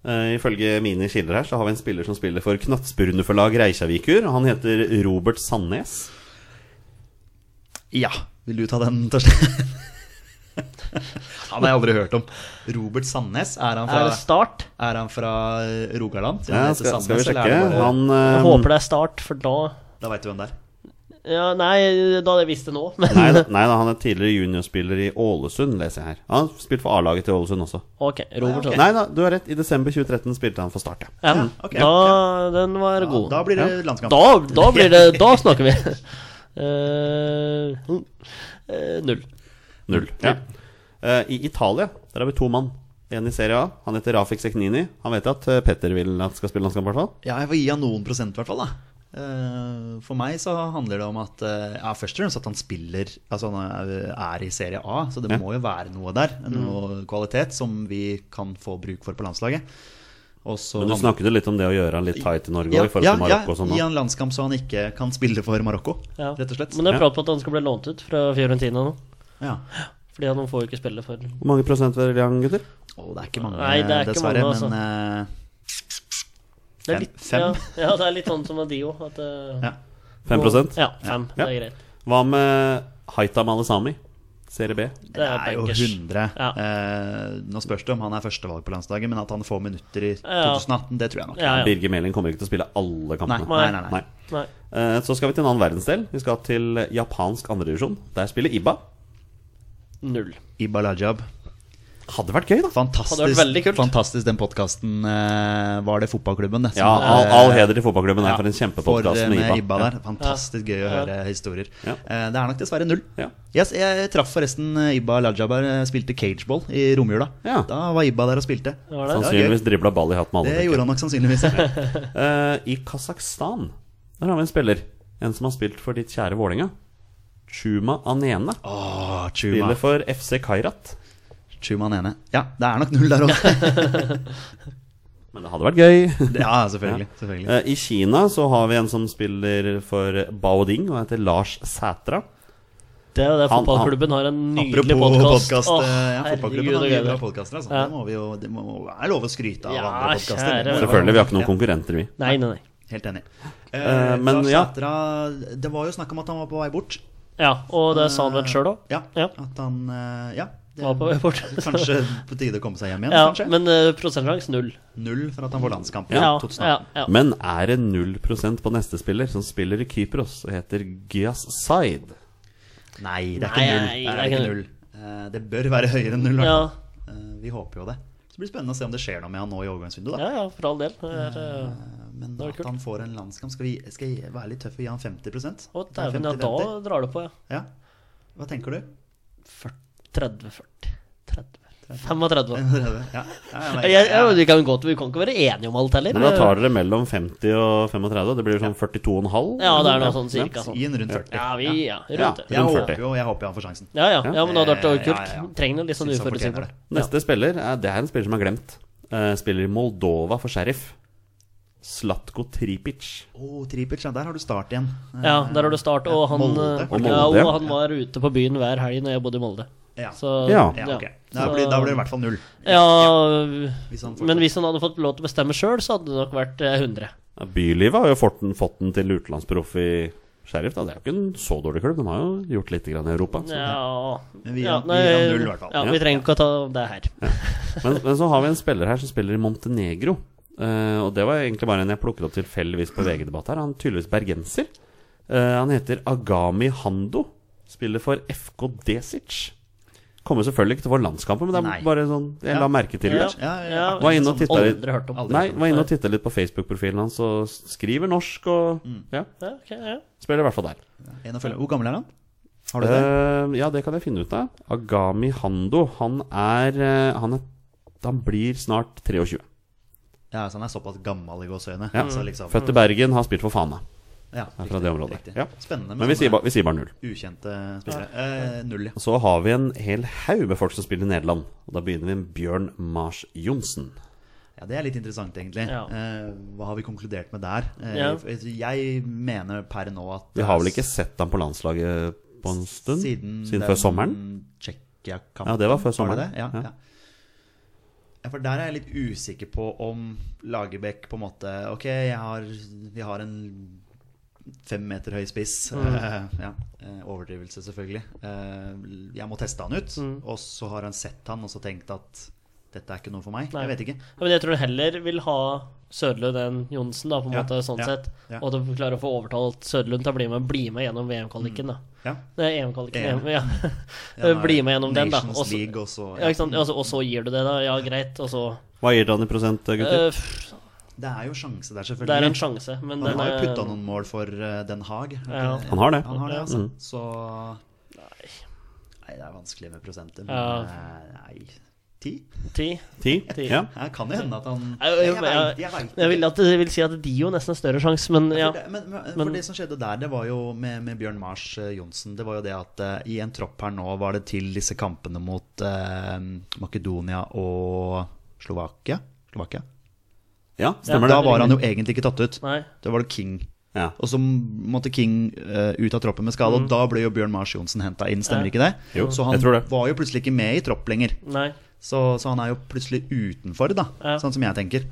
S1: Eh, ifølge mine kilder her så har vi en spiller som spiller for Knatsburne forlag Reykjavikur. og Han heter Robert Sandnes.
S4: Ja. Vil du ta den, Torstein? han har jeg aldri hørt om. Robert Sandnes, er han
S3: Er
S4: fra,
S3: det start?
S4: er han fra eh, Rogaland? siden
S1: Ja,
S4: han heter
S1: skal, skal vi
S4: Sandnes, eller
S1: sjekke?
S4: er det bare-
S1: Han
S3: Jeg
S1: eh,
S3: håper det er start, for da
S4: Da veit du hvem det er.
S3: Ja, nei, da hadde jeg visst det nå, men
S1: Nei, da, nei da, han er tidligere juniorspiller i Ålesund, leser jeg her. Han har spilt for A-laget til Ålesund også.
S3: OK. Robert Sand.
S1: Nei da, du har rett. I desember 2013 spilte han for Start, ja.
S3: Ja,
S4: ok,
S3: da, den var god.
S4: Da blir det landskamp.
S3: Da, da blir det Da snakker vi. Eh, eh, null.
S1: Null. Ja. Eh, I Italia der har vi to mann. En i Serie A. Han heter Rafik Seknini. Han vet at eh, Petter vil at skal spille landskamp, i hvert fall.
S4: Ja, jeg får gi han noen prosent i hvert fall da. Eh, For meg så handler det om at eh, ja, Først og fremst at han spiller Altså han er- er i serie A Så det
S1: Ja.
S4: må jo være noe der
S3: Mm.
S4: Noe kvalitet som vi kan få bruk for på landslaget Og så
S1: Men du
S4: handler-
S1: snakket jo litt om det å gjøre han litt tight i Norge
S4: ja,
S1: og i forhold
S4: ja,
S1: til Marokko og sånn.
S4: Ja,
S1: da.
S4: gi han landskamp så han ikke kan spille for Marokko
S3: Ja.
S4: Rett og slett
S3: Men det er prat på at han skal bli lånt ut fra Fiorentina nå.
S4: ja.
S3: Fordi han får jo ikke spille for
S1: Hvor mange prosent velger han, gutter?
S4: Å, Det er ikke mange
S3: Nei, det er ikke
S4: dessverre
S3: mange, altså.
S4: Men eh,
S3: det
S4: Fem-
S3: er litt,
S4: fem?
S3: Ja, ja, det er litt sånn som Adio. At, eh,
S4: Ja.
S1: 5 prosent?
S3: Ja, fem.
S1: Ja.
S3: Det er greit.
S1: Hva med Haita Malesami? Serie B.
S3: Det
S4: det
S3: er
S4: er jo
S3: bankers.
S4: 100
S3: Ja.
S4: Eh, Nå spørs det om han er førstevalg på landslaget Men at han får minutter i
S3: Ja.
S4: 2018 Det tror jeg nok
S3: Ja, ja.
S1: Birger Meling kommer ikke til å spille alle
S4: Nei,
S1: kampene.
S4: nei, nei, nei.
S3: Nei.
S1: Eh, Så skal vi til en annen verdensdel. Vi skal til japansk andredivisjon. Der spiller Ibba.
S3: Null.
S4: Iba Lajab.
S1: Hadde vært gøy, da.
S4: Fantastisk,
S3: Hadde vært veldig kult.
S4: fantastisk den podkasten var det fotballklubben. det, som
S1: Ja,
S4: var-
S1: all, all heder til fotballklubben her
S4: Ja,
S1: for en
S4: for, eh,
S1: kjempepodkast med Ibba.
S4: med Ibba
S1: Ja.
S4: der. Fantastisk gøy å høre historier.
S1: Ja.
S4: Eh, Det er nok dessverre null.
S1: Ja.
S4: Yes, jeg traff forresten eh, Ibba Lajabar eh, spilte cageball i romjula.
S1: Ja.
S4: Da var Ibba der og spilte.
S3: Var det?
S1: Sannsynligvis dribla ball i hatt med alle.
S4: Det gjorde han nok sannsynligvis.
S1: Eh, I Kasakhstan Der har vi en spiller. En som har spilt for ditt kjære Vålerenga. Chuma Anene.
S4: Åh, Chuma.
S1: Spiller for FC Kairat.
S4: Chuma Nene. Ja, det er nok null der òg.
S1: Men det hadde vært gøy.
S4: Ja, selvfølgelig. selvfølgelig.
S1: Eh, I Kina så har vi en som spiller for Baoding, og heter Lars Sætra.
S3: Det er jo det
S1: Han-
S3: fotballklubben har en nydelig
S4: Apropos
S3: podkast.
S4: podkast. eh, ja, fotballklubben har mye bra
S3: herregud.
S4: podkaster. Altså.
S3: Ja.
S4: Det må vi jo, det må, er lov å skryte av
S3: Ja,
S4: andre podkaster.
S3: kjære
S1: Selvfølgelig, vi har ikke noen konkurrenter, vi.
S3: Nei, nei, nei.
S4: Helt enig.
S1: Eh, men
S4: Lars
S1: ja.
S4: Sætra, det var jo snakk om at han var på vei bort.
S3: Ja, og det sa han vel sjøl òg.
S4: Eh, Ja,
S3: Ja.
S4: At han eh, Ja. det-
S3: Var på vei bort.
S4: Kanskje på tide å komme seg hjem igjen,
S3: Ja,
S4: kanskje.
S3: men uh, prosentsjanse null.
S4: Null for at han får landskamp. i
S3: Ja,
S4: 2018.
S3: ja, ja.
S1: Men er det 0 på neste spiller, som spiller i Kypros og heter Gyas Zaid?
S4: Nei, det er
S3: Nei,
S4: ikke null.
S3: nei,
S4: det, er ikke null. Eh, det bør være høyere enn null. i hvert
S3: Ja.
S4: fall. Eh, vi håper jo det. Så det blir spennende å se om det skjer noe med han nå i overgangsvinduet. da
S3: Ja, ja, for all del. Det er, eh,
S4: Eh, Men
S3: det er
S4: at
S3: kult.
S4: han får en landskamp Skal, vi, skal jeg være litt tøff og gi han 50
S3: Å, dæven, ja, da
S4: 50-50.
S3: drar det på, ja.
S4: ja. Hva tenker du?
S3: 30-40. 30. 35.
S4: ja. Ja,
S3: Jeg, jeg, jeg, vi, kan godt, vi kan ikke være enige om alt heller.
S1: Men da tar dere mellom 50 og 35. Det blir sånn 42,5?
S3: Ja, det er noe sånn cirka sånn.
S4: Gi en rundt 40.
S3: Ja, vi, ja,
S1: Ja.
S3: rundt det.
S4: Jeg
S1: rundt
S4: håper
S1: 40.
S4: jo jeg håper han får sjansen.
S3: Ja, ja, ja, men det hadde vært
S4: Ja, ja, ja.
S3: kult. Trenger noe litt sånn
S4: Synes han fortjener
S3: uforutsigbart.
S4: det.
S1: Neste spiller er, det er en spiller som er glemt. Eh, spiller i Moldova for Sheriff. Slatko Tripic.
S4: Oh, Tripic, ja, der har du start igjen.
S3: Ja, der har du start. Og han,
S4: Molde.
S3: eh,
S1: Og
S3: ja,
S1: Molde,
S3: og
S1: ja.
S3: han var ute på byen hver helg når jeg bodde i Molde.
S4: Ja.
S3: Så,
S1: Ja.
S4: Ja, ok. Da
S3: Så-
S4: blir, da blir det i hvert fall null.
S3: Ja,
S4: Hvis han får
S3: men hvis han hadde fått lov til å bestemme sjøl, så hadde det nok vært eh, 100.
S1: Ja, Bylivet har jo fått den, fått den til utenlandsproff i Sheriff. Da. Det er jo ikke en så dårlig klubb. De har jo gjort litt grann i Europa. Så.
S3: Ja,
S4: Men vi gir
S3: ja,
S4: han- vi gir han null i hvert fall.
S3: Ja, vi trenger ikke å ta det her.
S1: Men, men så har vi en spiller her som spiller i Montenegro. Eh, og det var egentlig bare en jeg plukket opp tilfeldigvis på VG-debatt her. Han er tydeligvis bergenser. Eh, han heter Agami Hando. Spiller for FK Desic. Kommer selvfølgelig ikke til å få landskampen, men det er
S4: Nei.
S1: bare sånn Jeg la
S4: Ja.
S1: merke til det.
S3: Ja.
S4: Ja, ja,
S3: Ja,
S4: akkurat
S1: Var inne og
S4: sånn.
S1: titta litt.
S3: Aldri hørt om.
S4: Aldri.
S1: Nei, var inne og titta litt på Facebook-profilen hans og skriver norsk og
S4: Mm.
S1: Ja,
S3: Ja, ok, ja.
S1: spiller i hvert fall der.
S4: En å følge. Hvor gammel er han? Har du det?
S1: Eh, ja, det kan jeg finne ut av. Agami Hando, han er eh, Han, er, han blir snart 23.
S4: Ja, så han er såpass gammel i gåseøyne.
S1: Ja.
S4: Altså, liksom,
S1: Født i Bergen, har spilt for Fana.
S4: ja,
S1: er fra det området.
S4: riktig.
S1: Ja.
S4: Spennende
S1: Men vi sier,
S4: sånne
S1: bare, vi sier bare null.
S4: ukjente spillere. Eh, null, ja.
S1: Og så har vi en hel haug med folk som spiller i Nederland. Og da begynner vi med Bjørn Mars Johnsen.
S4: ja. Det er litt interessant, egentlig.
S3: Ja.
S4: Eh, hva har vi konkludert med der? Eh,
S3: Ja.
S4: Jeg mener per nå at eh,
S1: Vi har vel ikke sett ham på landslaget på en stund?
S4: Siden,
S1: før sommeren?
S4: Tsjekkia-kampen.
S1: Ja, det var før sommeren.
S4: det? Ja,
S1: Ja.
S4: ja. Ja, for der er jeg litt usikker på om Lagerbäck på en måte Ok, jeg har, vi har en fem meter høy spiss.
S3: Mm.
S4: Eh, ja, eh, overdrivelse, selvfølgelig. Eh, jeg må teste han ut.
S3: Mm.
S4: Og så har han sett han og så tenkt at dette er ikke noe for meg.
S3: Nei.
S4: Jeg vet ikke.
S3: Ja, Men jeg tror heller vil ha Sødlund enn Johnsen, da, på en
S4: Ja,
S3: måte, sånn
S4: ja,
S3: sett.
S4: ja.
S3: Og du klarer å få overtalt Sødlund til å bli med, bli med gjennom VM-kvaliken, da.
S4: Ja.
S3: Nei, EM-kvaliken.
S4: EM.
S3: Ja. Eh,
S4: Ja, nå er
S3: bli
S4: det
S3: med gjennom den, da.
S4: Nations
S3: Og så-
S4: League, og så-
S3: Ja, ikke sant? Altså, og så gir du det, da. Ja, greit. Og så
S1: Hva gir dere han i prosent, gutter?
S3: Eh, pff,
S4: Det er jo sjanse der, selvfølgelig.
S3: Det er en sjanse, men
S4: Han
S3: den
S4: har jo
S3: er-
S4: putta noen mål for eh, Den Haag.
S3: Ja.
S1: han har det.
S4: Han har det, altså.
S1: Mm.
S4: Så Nei. det er vanskelig med prosenter, men
S3: Ja.
S4: eh, nei Ti?
S3: Ti.
S1: Ti?
S3: Ti.
S1: Ja.
S4: Ja, kan det hende at han
S3: Jeg, jeg,
S4: Jeg
S3: jeg,
S4: vet- jeg vet
S3: jeg,
S4: ikke.
S3: vil, at, jeg vil si at Dio nesten er større sjanse, men ja.
S4: For det, men, men, for
S3: Men-
S4: det som skjedde der, det var jo med, med Bjørn Mars eh, Johnsen Det var jo det at eh, i en tropp her nå var det til disse kampene mot eh, Makedonia og Slovakia. Slovakia.
S1: ja, stemmer
S4: Da
S1: det.
S4: var han jo egentlig ikke tatt ut.
S3: Nei.
S4: Da var det King.
S1: Ja.
S4: Og så måtte King eh, ut av troppen med skade, og da ble jo Bjørn Mars Johnsen henta inn, stemmer
S3: Ja.
S4: ikke det?
S1: Mm. Jo,
S4: så han
S1: jeg tror det.
S4: var jo plutselig ikke med i tropp lenger.
S3: Nei.
S4: Så, så han er jo plutselig utenfor, da,
S3: Ja.
S4: sånn som jeg tenker.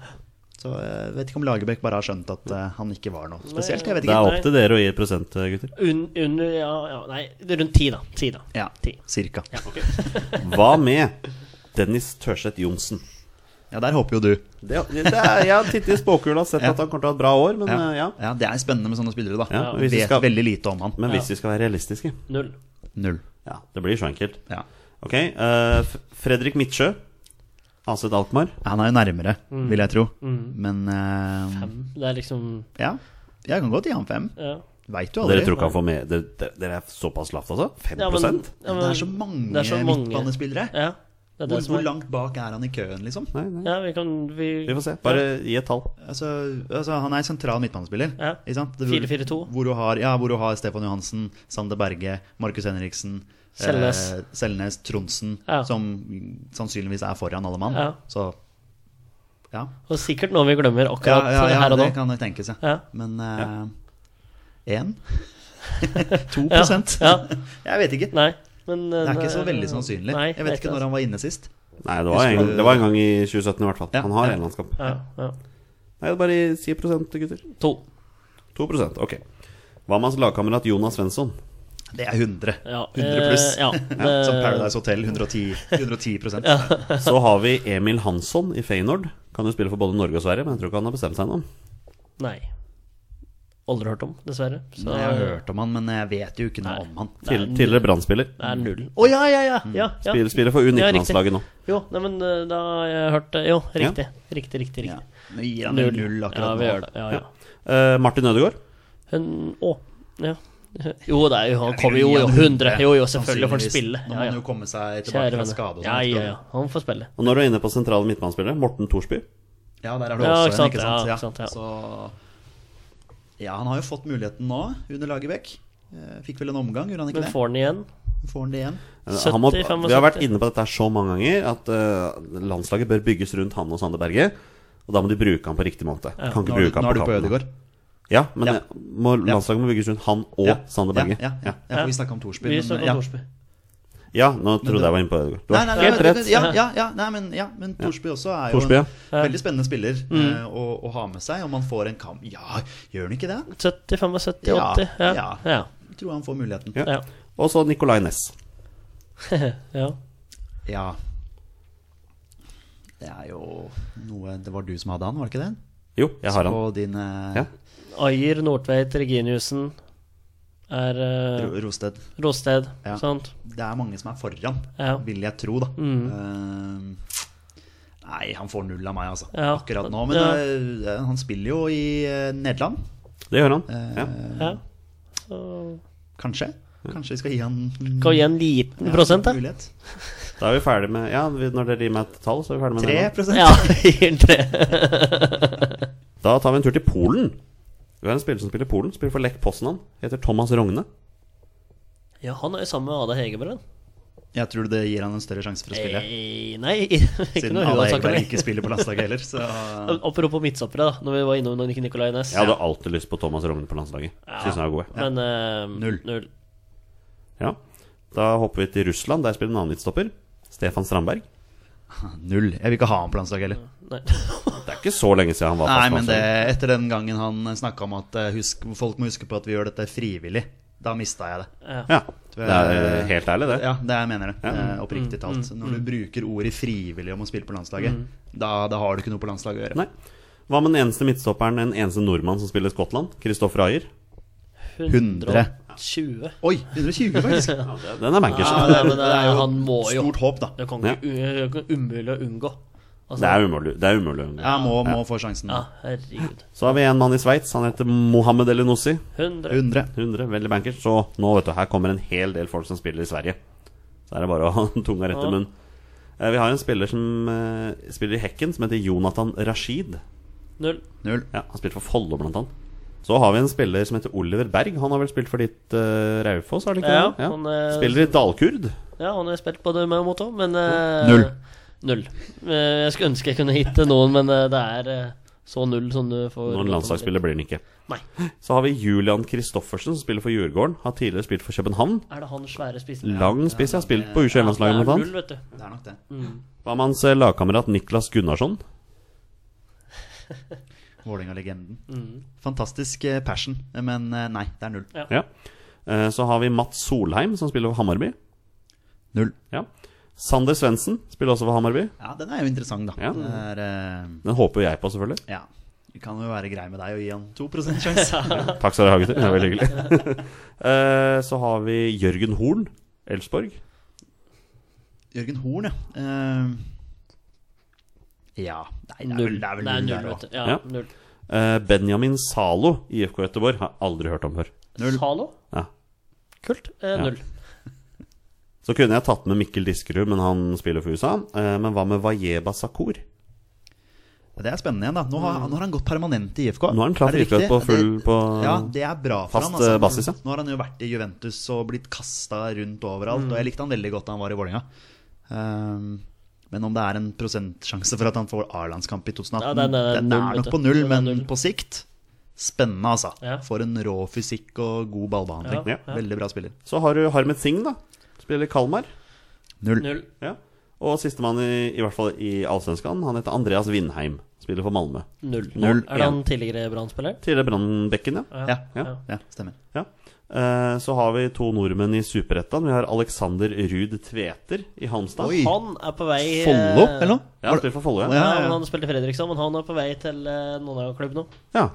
S4: Så jeg vet ikke om Lagerbäck bare har skjønt at eh, han ikke var noe spesielt. Jeg vet
S1: Det er
S4: ikke.
S1: opp til dere å gi et prosent, eh, gutter.
S3: Un, under ja, ja, Nei, rundt ti, da. Ti, da.
S4: Ja,
S3: Ti.
S4: cirka.
S1: Hva med Dennis Tørseth Johnsen?
S4: Ja, der håper jo du.
S1: Det, det er, jeg har tittet i spåkula og sett at han kommer til å ha et bra år, men
S4: Ja.
S1: eh, ja.
S4: Ja, det er spennende med sånne spillere, da.
S1: Ja, og hvis vi
S4: vet
S1: skal-
S4: veldig lite om han.
S1: Men hvis vi skal være realistiske
S3: Null.
S4: Null.
S1: Ja, det blir så enkelt.
S4: Ja.
S1: Ok, eh, F- Fredrik Midtsjø. Aset Alkmaar.
S4: Han er jo nærmere,
S1: Mm.
S4: vil jeg tro. Men eh,
S3: Det er liksom
S4: ja. Jeg kan godt gi han fem.
S3: Ja.
S4: Veit jo aldri.
S1: Dere tror ikke han får med Dere, dere- dere er såpass lavt, altså? 5
S3: Ja, men- ja, men-
S4: Det er så mange,
S3: det er så mange.
S4: midtbanespillere.
S3: Ja. Det er det
S4: Hvor,
S3: som
S4: hvor
S3: er
S4: langt bak er han i køen, liksom?
S1: Nei, nei.
S3: Ja, vi kan Vi,
S1: Vi får se. Bare gi et tall.
S4: Altså, altså Han er sentral midtbanespiller.
S3: Ja.
S4: Ikke sant? Det-
S3: 4-4-2.
S4: Hvor du har, ja, hvor du har Stefan Johansen, Sander Berge, Markus Henriksen,
S3: Selnes.
S4: eh, Selnes Tronsen,
S3: Ja.
S4: som sannsynligvis er foran alle mann.
S3: Ja.
S4: Så ja.
S3: Og sikkert noe vi glemmer
S4: Ja,
S3: akkurat
S4: ja, ja,
S3: her og nå.
S4: det kan jo tenkes, ja.
S3: Ja.
S4: Men én? To prosent?
S3: Ja,
S4: Jeg vet ikke.
S3: Nei. Men eh,
S4: Det er ikke så veldig sannsynlig.
S3: Nei,
S4: jeg vet ikke når han var inne sist.
S1: Nei, det var, en, det var en gang i 2017 i hvert fall.
S4: Ja,
S1: Han har
S4: ja.
S1: en landskamp.
S3: ja, ja.
S1: Nei, bare si prosent, gutter.
S3: To.
S1: 2 ok. Hva med hans lagkamerat Jonas Svensson?
S4: Det er 100.
S3: Ja,
S4: 100 pluss.
S3: eh, ja, det-
S4: Som Paradise Hotel. 110, 110
S1: Så har vi Emil Hansson i Feyenoord. Kan jo spille for både Norge og Sverige, men jeg tror ikke han har bestemt seg ennå.
S3: Nei. Aldri hørt om, dessverre. Så
S4: Nei, Jeg har hørt om han, men jeg vet jo ikke noe om han.
S1: Til, tidligere Brann-spiller.
S3: det er null. Å ja, ja, ja!
S1: Mm.
S3: ja, ja.
S1: Spiller, spiller for
S3: Ja,
S1: U19-landslaget nå.
S3: Jo, nei, men eh, da har jeg hørt det. Jo, riktig. Riktig, riktig.
S4: Ja.
S3: riktig.
S4: Nå gir han en null
S3: ja,
S4: akkurat
S3: vi
S4: nå.
S3: gjør det. Ja, ja.
S1: Eh, Martin Ødegaard.
S3: Hun, å, ja. Jo, det er jo, han kommer jo jo, 100. Jo, jo, selvfølgelig får han spille. Ja,
S4: Nå må han
S3: ja.
S4: jo komme seg tilbake
S3: Kjære
S4: fra
S3: venner.
S4: skade. og
S3: Ja,
S4: sånt.
S3: ja, ja. Han får spille.
S1: Og når du er inne på sentrale midtbanespillere, Morten Thorsby.
S4: Ja, der er det
S3: Ja,
S4: også
S3: ikke sant,
S4: en, ikke sant?
S3: ja,
S4: Ja,
S3: ikke sant, ja.
S4: Så Ja, han har jo fått muligheten nå, under Lagerbäck. Eh, Fikk vel en omgang, gjorde han ikke
S3: Men får han igjen?
S4: det? Får han det igjen?
S1: Eh, Han må,
S3: 70, 75.
S1: vi har vært inne på dette her så mange ganger at eh, landslaget bør bygges rundt han og Sander Berge. Og da må de bruke han på riktig måte. Kan
S4: Nå
S1: ikke
S4: er du,
S1: bruke
S4: nå
S1: han
S4: er du
S1: på
S4: på
S1: kanten.
S4: Ødegaard.
S1: Ja, men
S4: Ja.
S1: eh, Må, landslaget må bygges rundt han og Sander Berge.
S4: Ja, ja, ja. ja, for vi snakka om Thorsby.
S3: Vi
S4: men-
S3: snakker
S4: ja.
S3: om Thorsby.
S1: Ja, nå trodde jeg var inne på Ødegaard. Du
S4: Nei,
S1: har
S4: nei, nei,
S1: helt
S4: men-
S1: rett.
S4: Ja, ja, ja, nei, men, ja, men Thorsby også er jo
S1: Thorsby, ja. Mm.
S4: en veldig spennende spiller eh, å, å ha med seg. Om han får en kamp Ja, gjør han ikke det?
S3: 70, 75,
S4: Ja,
S3: 80. Ja. Ja.
S4: ja.
S3: ja.
S4: Jeg tror han får muligheten.
S1: Ja.
S3: ja.
S1: Og så Nicolay Næss.
S4: Ja. Det er jo noe Det var du som hadde han, var det ikke det?
S1: Jo, jeg har han.
S4: På din eh,
S1: Ja.
S3: Ayer, Nordtveit, Reginiussen er eh,
S4: Ro- Rosted.
S3: Rosted.
S4: Ja.
S3: Sant?
S4: Det er mange som er foran,
S3: Ja.
S4: vil jeg tro, da.
S1: Mm.
S4: Eh, nei, han får null av meg, altså.
S3: Ja.
S4: Akkurat nå. Men eh, han spiller jo i eh, Nederland,
S1: Det gjør han.
S4: eh,
S1: Ja.
S3: Ja. Så
S4: kanskje. Kanskje vi skal gi han
S3: Skal vi gi en liten prosent, da?
S4: mulighet.
S1: Da er vi ferdig med Ja, vi- når dere gir meg et tall, så er vi ferdig med
S4: Tre
S1: det. nå.
S4: prosent?
S3: Ja, gir tre.
S1: Da tar vi en tur til Polen. Du er en spiller som spiller i Polen. Spiller for Lech Poznan. Heter Thomas Rogne.
S3: Ja, han er jo sammen med Ada Hegerberg.
S4: Jeg tror det gir han en større sjanse for å spille.
S3: Nei, nei Eh, ikke
S4: Siden
S3: noe hun
S4: Ada
S3: har sagt om
S4: Hegerberg
S3: det.
S4: ikke spiller på landslaget heller. Så
S3: Apropos midtstoppere, da, når vi var innom Nicolay Næss.
S1: Jeg hadde alltid lyst på Thomas Rogne på landslaget. Synes han er god. jeg.
S3: Men eh,
S4: Null.
S3: null.
S1: Ja. Da hopper vi til Russland. Der spiller en annen midtstopper. Stefan Strandberg.
S4: null. Jeg vil ikke ha han på landslaget heller.
S3: Nei.
S1: Det er ikke så lenge siden han var
S4: Nei,
S1: fast
S4: men det,
S1: landslag.
S4: etter den gangen han snakka om at eh, husk, folk må huske på at vi gjør dette frivillig, da mista jeg det.
S1: Ja. Det er eh, helt ærlig, det.
S4: Ja, det er- jeg mener det. eh,
S3: Mm.
S4: Oppriktig talt. Når du bruker ordet frivillig om å spille på landslaget, da, da har du ikke noe på landslaget å gjøre.
S1: Nei. Hva med den eneste midtstopperen, en eneste nordmann som spiller i Skottland? Kristoffer Ayer.
S4: 100.
S3: 120.
S4: Oi, 120 faktisk!
S1: Den er bankers.
S3: Ja, det, men det, er jo han må jo
S4: Stort håp, da.
S3: Det kan ikke det kan umulig å unngå. Altså,
S1: Det er umulig. Det er umulig.
S4: Jeg må, må få sjansen.
S3: Ja, herregud.
S1: Så har vi en mann i Sveits. Han heter Mohammed Elinossi.
S3: 100.
S4: 100.
S1: 100, veldig bankers. Så nå, vet du, her kommer en hel del folk som spiller i Sverige. Så er det bare å ha tunga rett i
S3: Ja.
S1: munnen. Eh, Vi har en spiller som eh, spiller i Hekken, som heter Jonathan Rashid.
S3: Null.
S4: Null.
S1: Ja, han spilte for Follo, blant annet. Så har vi en spiller som heter Oliver Berg. Han har vel spilt for ditt eh, Raufoss, har han ikke
S3: Ja,
S1: det?
S3: han, eh,
S1: Spiller i Dalkurd.
S3: Ja, han har spilt både med og mot òg, men eh,
S4: Null.
S3: Null. Eh, Jeg skulle ønske jeg kunne hitte noen, men eh, det er eh, så null som du får
S1: Noen landslagsspiller blir han ikke.
S3: Nei.
S1: Så har vi Julian Kristoffersen, som spiller for Djurgården. Har tidligere spilt for København.
S3: Er det han svære spissen?
S1: Lang spiss, har spilt på
S3: det
S1: U21-landslaget,
S3: er
S1: blant
S3: null,
S1: annet.
S3: vet du.
S4: Det er nok det.
S1: Hva med hans eh, lagkamerat Niklas Gunnarsson?
S4: Vålerenga-legenden. Fantastisk eh, passion, men eh, nei, det er null.
S1: Ja. Eh, Så har vi Mats Solheim, som spiller for Hammarby.
S4: Null.
S1: Ja. Sander Svendsen spiller også for Hammarby.
S4: Ja, den er jo interessant, da.
S1: Ja.
S4: Det er, eh,
S1: Den håper jo jeg på, selvfølgelig.
S4: Ja. Vi kan jo være grei med deg og gi han 2 sjanse.
S1: Takk skal dere ha, gutter. Det er veldig hyggelig. Eh, Så har vi Jørgen Horn, Elsborg.
S4: Jørgen Horn, ja. Eh, ja. Nei, det er vel, det er vel
S3: Det er
S4: null
S3: null,
S4: der
S3: vet
S4: også.
S3: du. Ja,
S1: Ja.
S3: null.
S1: Eh, Benjamin Zalo i IFK Göteborg har jeg aldri hørt om før.
S4: Null.
S3: Zalo?
S1: Ja.
S3: Kult. Eh, null.
S1: Så kunne jeg tatt med Mikkel Diskerud, men han spiller for USA. Eh, Men hva med Wajeba Sakur?
S4: Det er spennende igjen, da. Nå har, nå har han gått permanent i IFK.
S1: Mm. Nå er han klar for
S4: det
S1: IFK
S4: riktig?
S1: på full på
S4: Det, ja, det er bra for
S1: fast,
S4: han. altså.
S1: eh, basis, ja.
S4: Nå har han jo vært i Juventus og blitt kasta rundt overalt,
S1: Mm.
S4: og jeg likte han veldig godt da han var i Vålerenga. Eh, men om det er en prosentsjanse for at han får A-landskamp i 2018
S3: Ja,
S4: den,
S3: den er null,
S4: er
S3: vet
S4: nok
S3: du.
S4: på null,
S3: Den er
S4: men
S3: null.
S4: på sikt Spennende, altså.
S3: Ja.
S4: For en rå fysikk og god ballbehandling.
S1: Ja, ja.
S4: Veldig bra spiller.
S1: Så har du Harmet Singh, da. Spiller i Kalmar.
S4: Null.
S3: Null.
S1: Ja. Og sistemann, i, i hvert fall i Allsvenskan, han heter Andreas Vindheim. Spiller for Malmö.
S3: Null.
S1: Null,
S3: Er det han tidligere Brann-spiller?
S1: Tidligere Brannbekken, ja.
S4: Ja,
S1: Ja.
S3: ja.
S4: ja, stemmer.
S1: ja. Eh, Så har vi to nordmenn i Superettan. Vi har Alexander Ruud Tveter i Halmstad.
S4: Oi.
S3: Han er på vei eh,
S4: Follo, eller noe?
S1: Ja, han spiller for Follo,
S4: Ja,
S1: ja.
S3: Ja,
S4: ja, ja.
S3: Han spilte i Fredrikstad, men han er på vei til eh, Nonau-klubb nå.
S1: ja.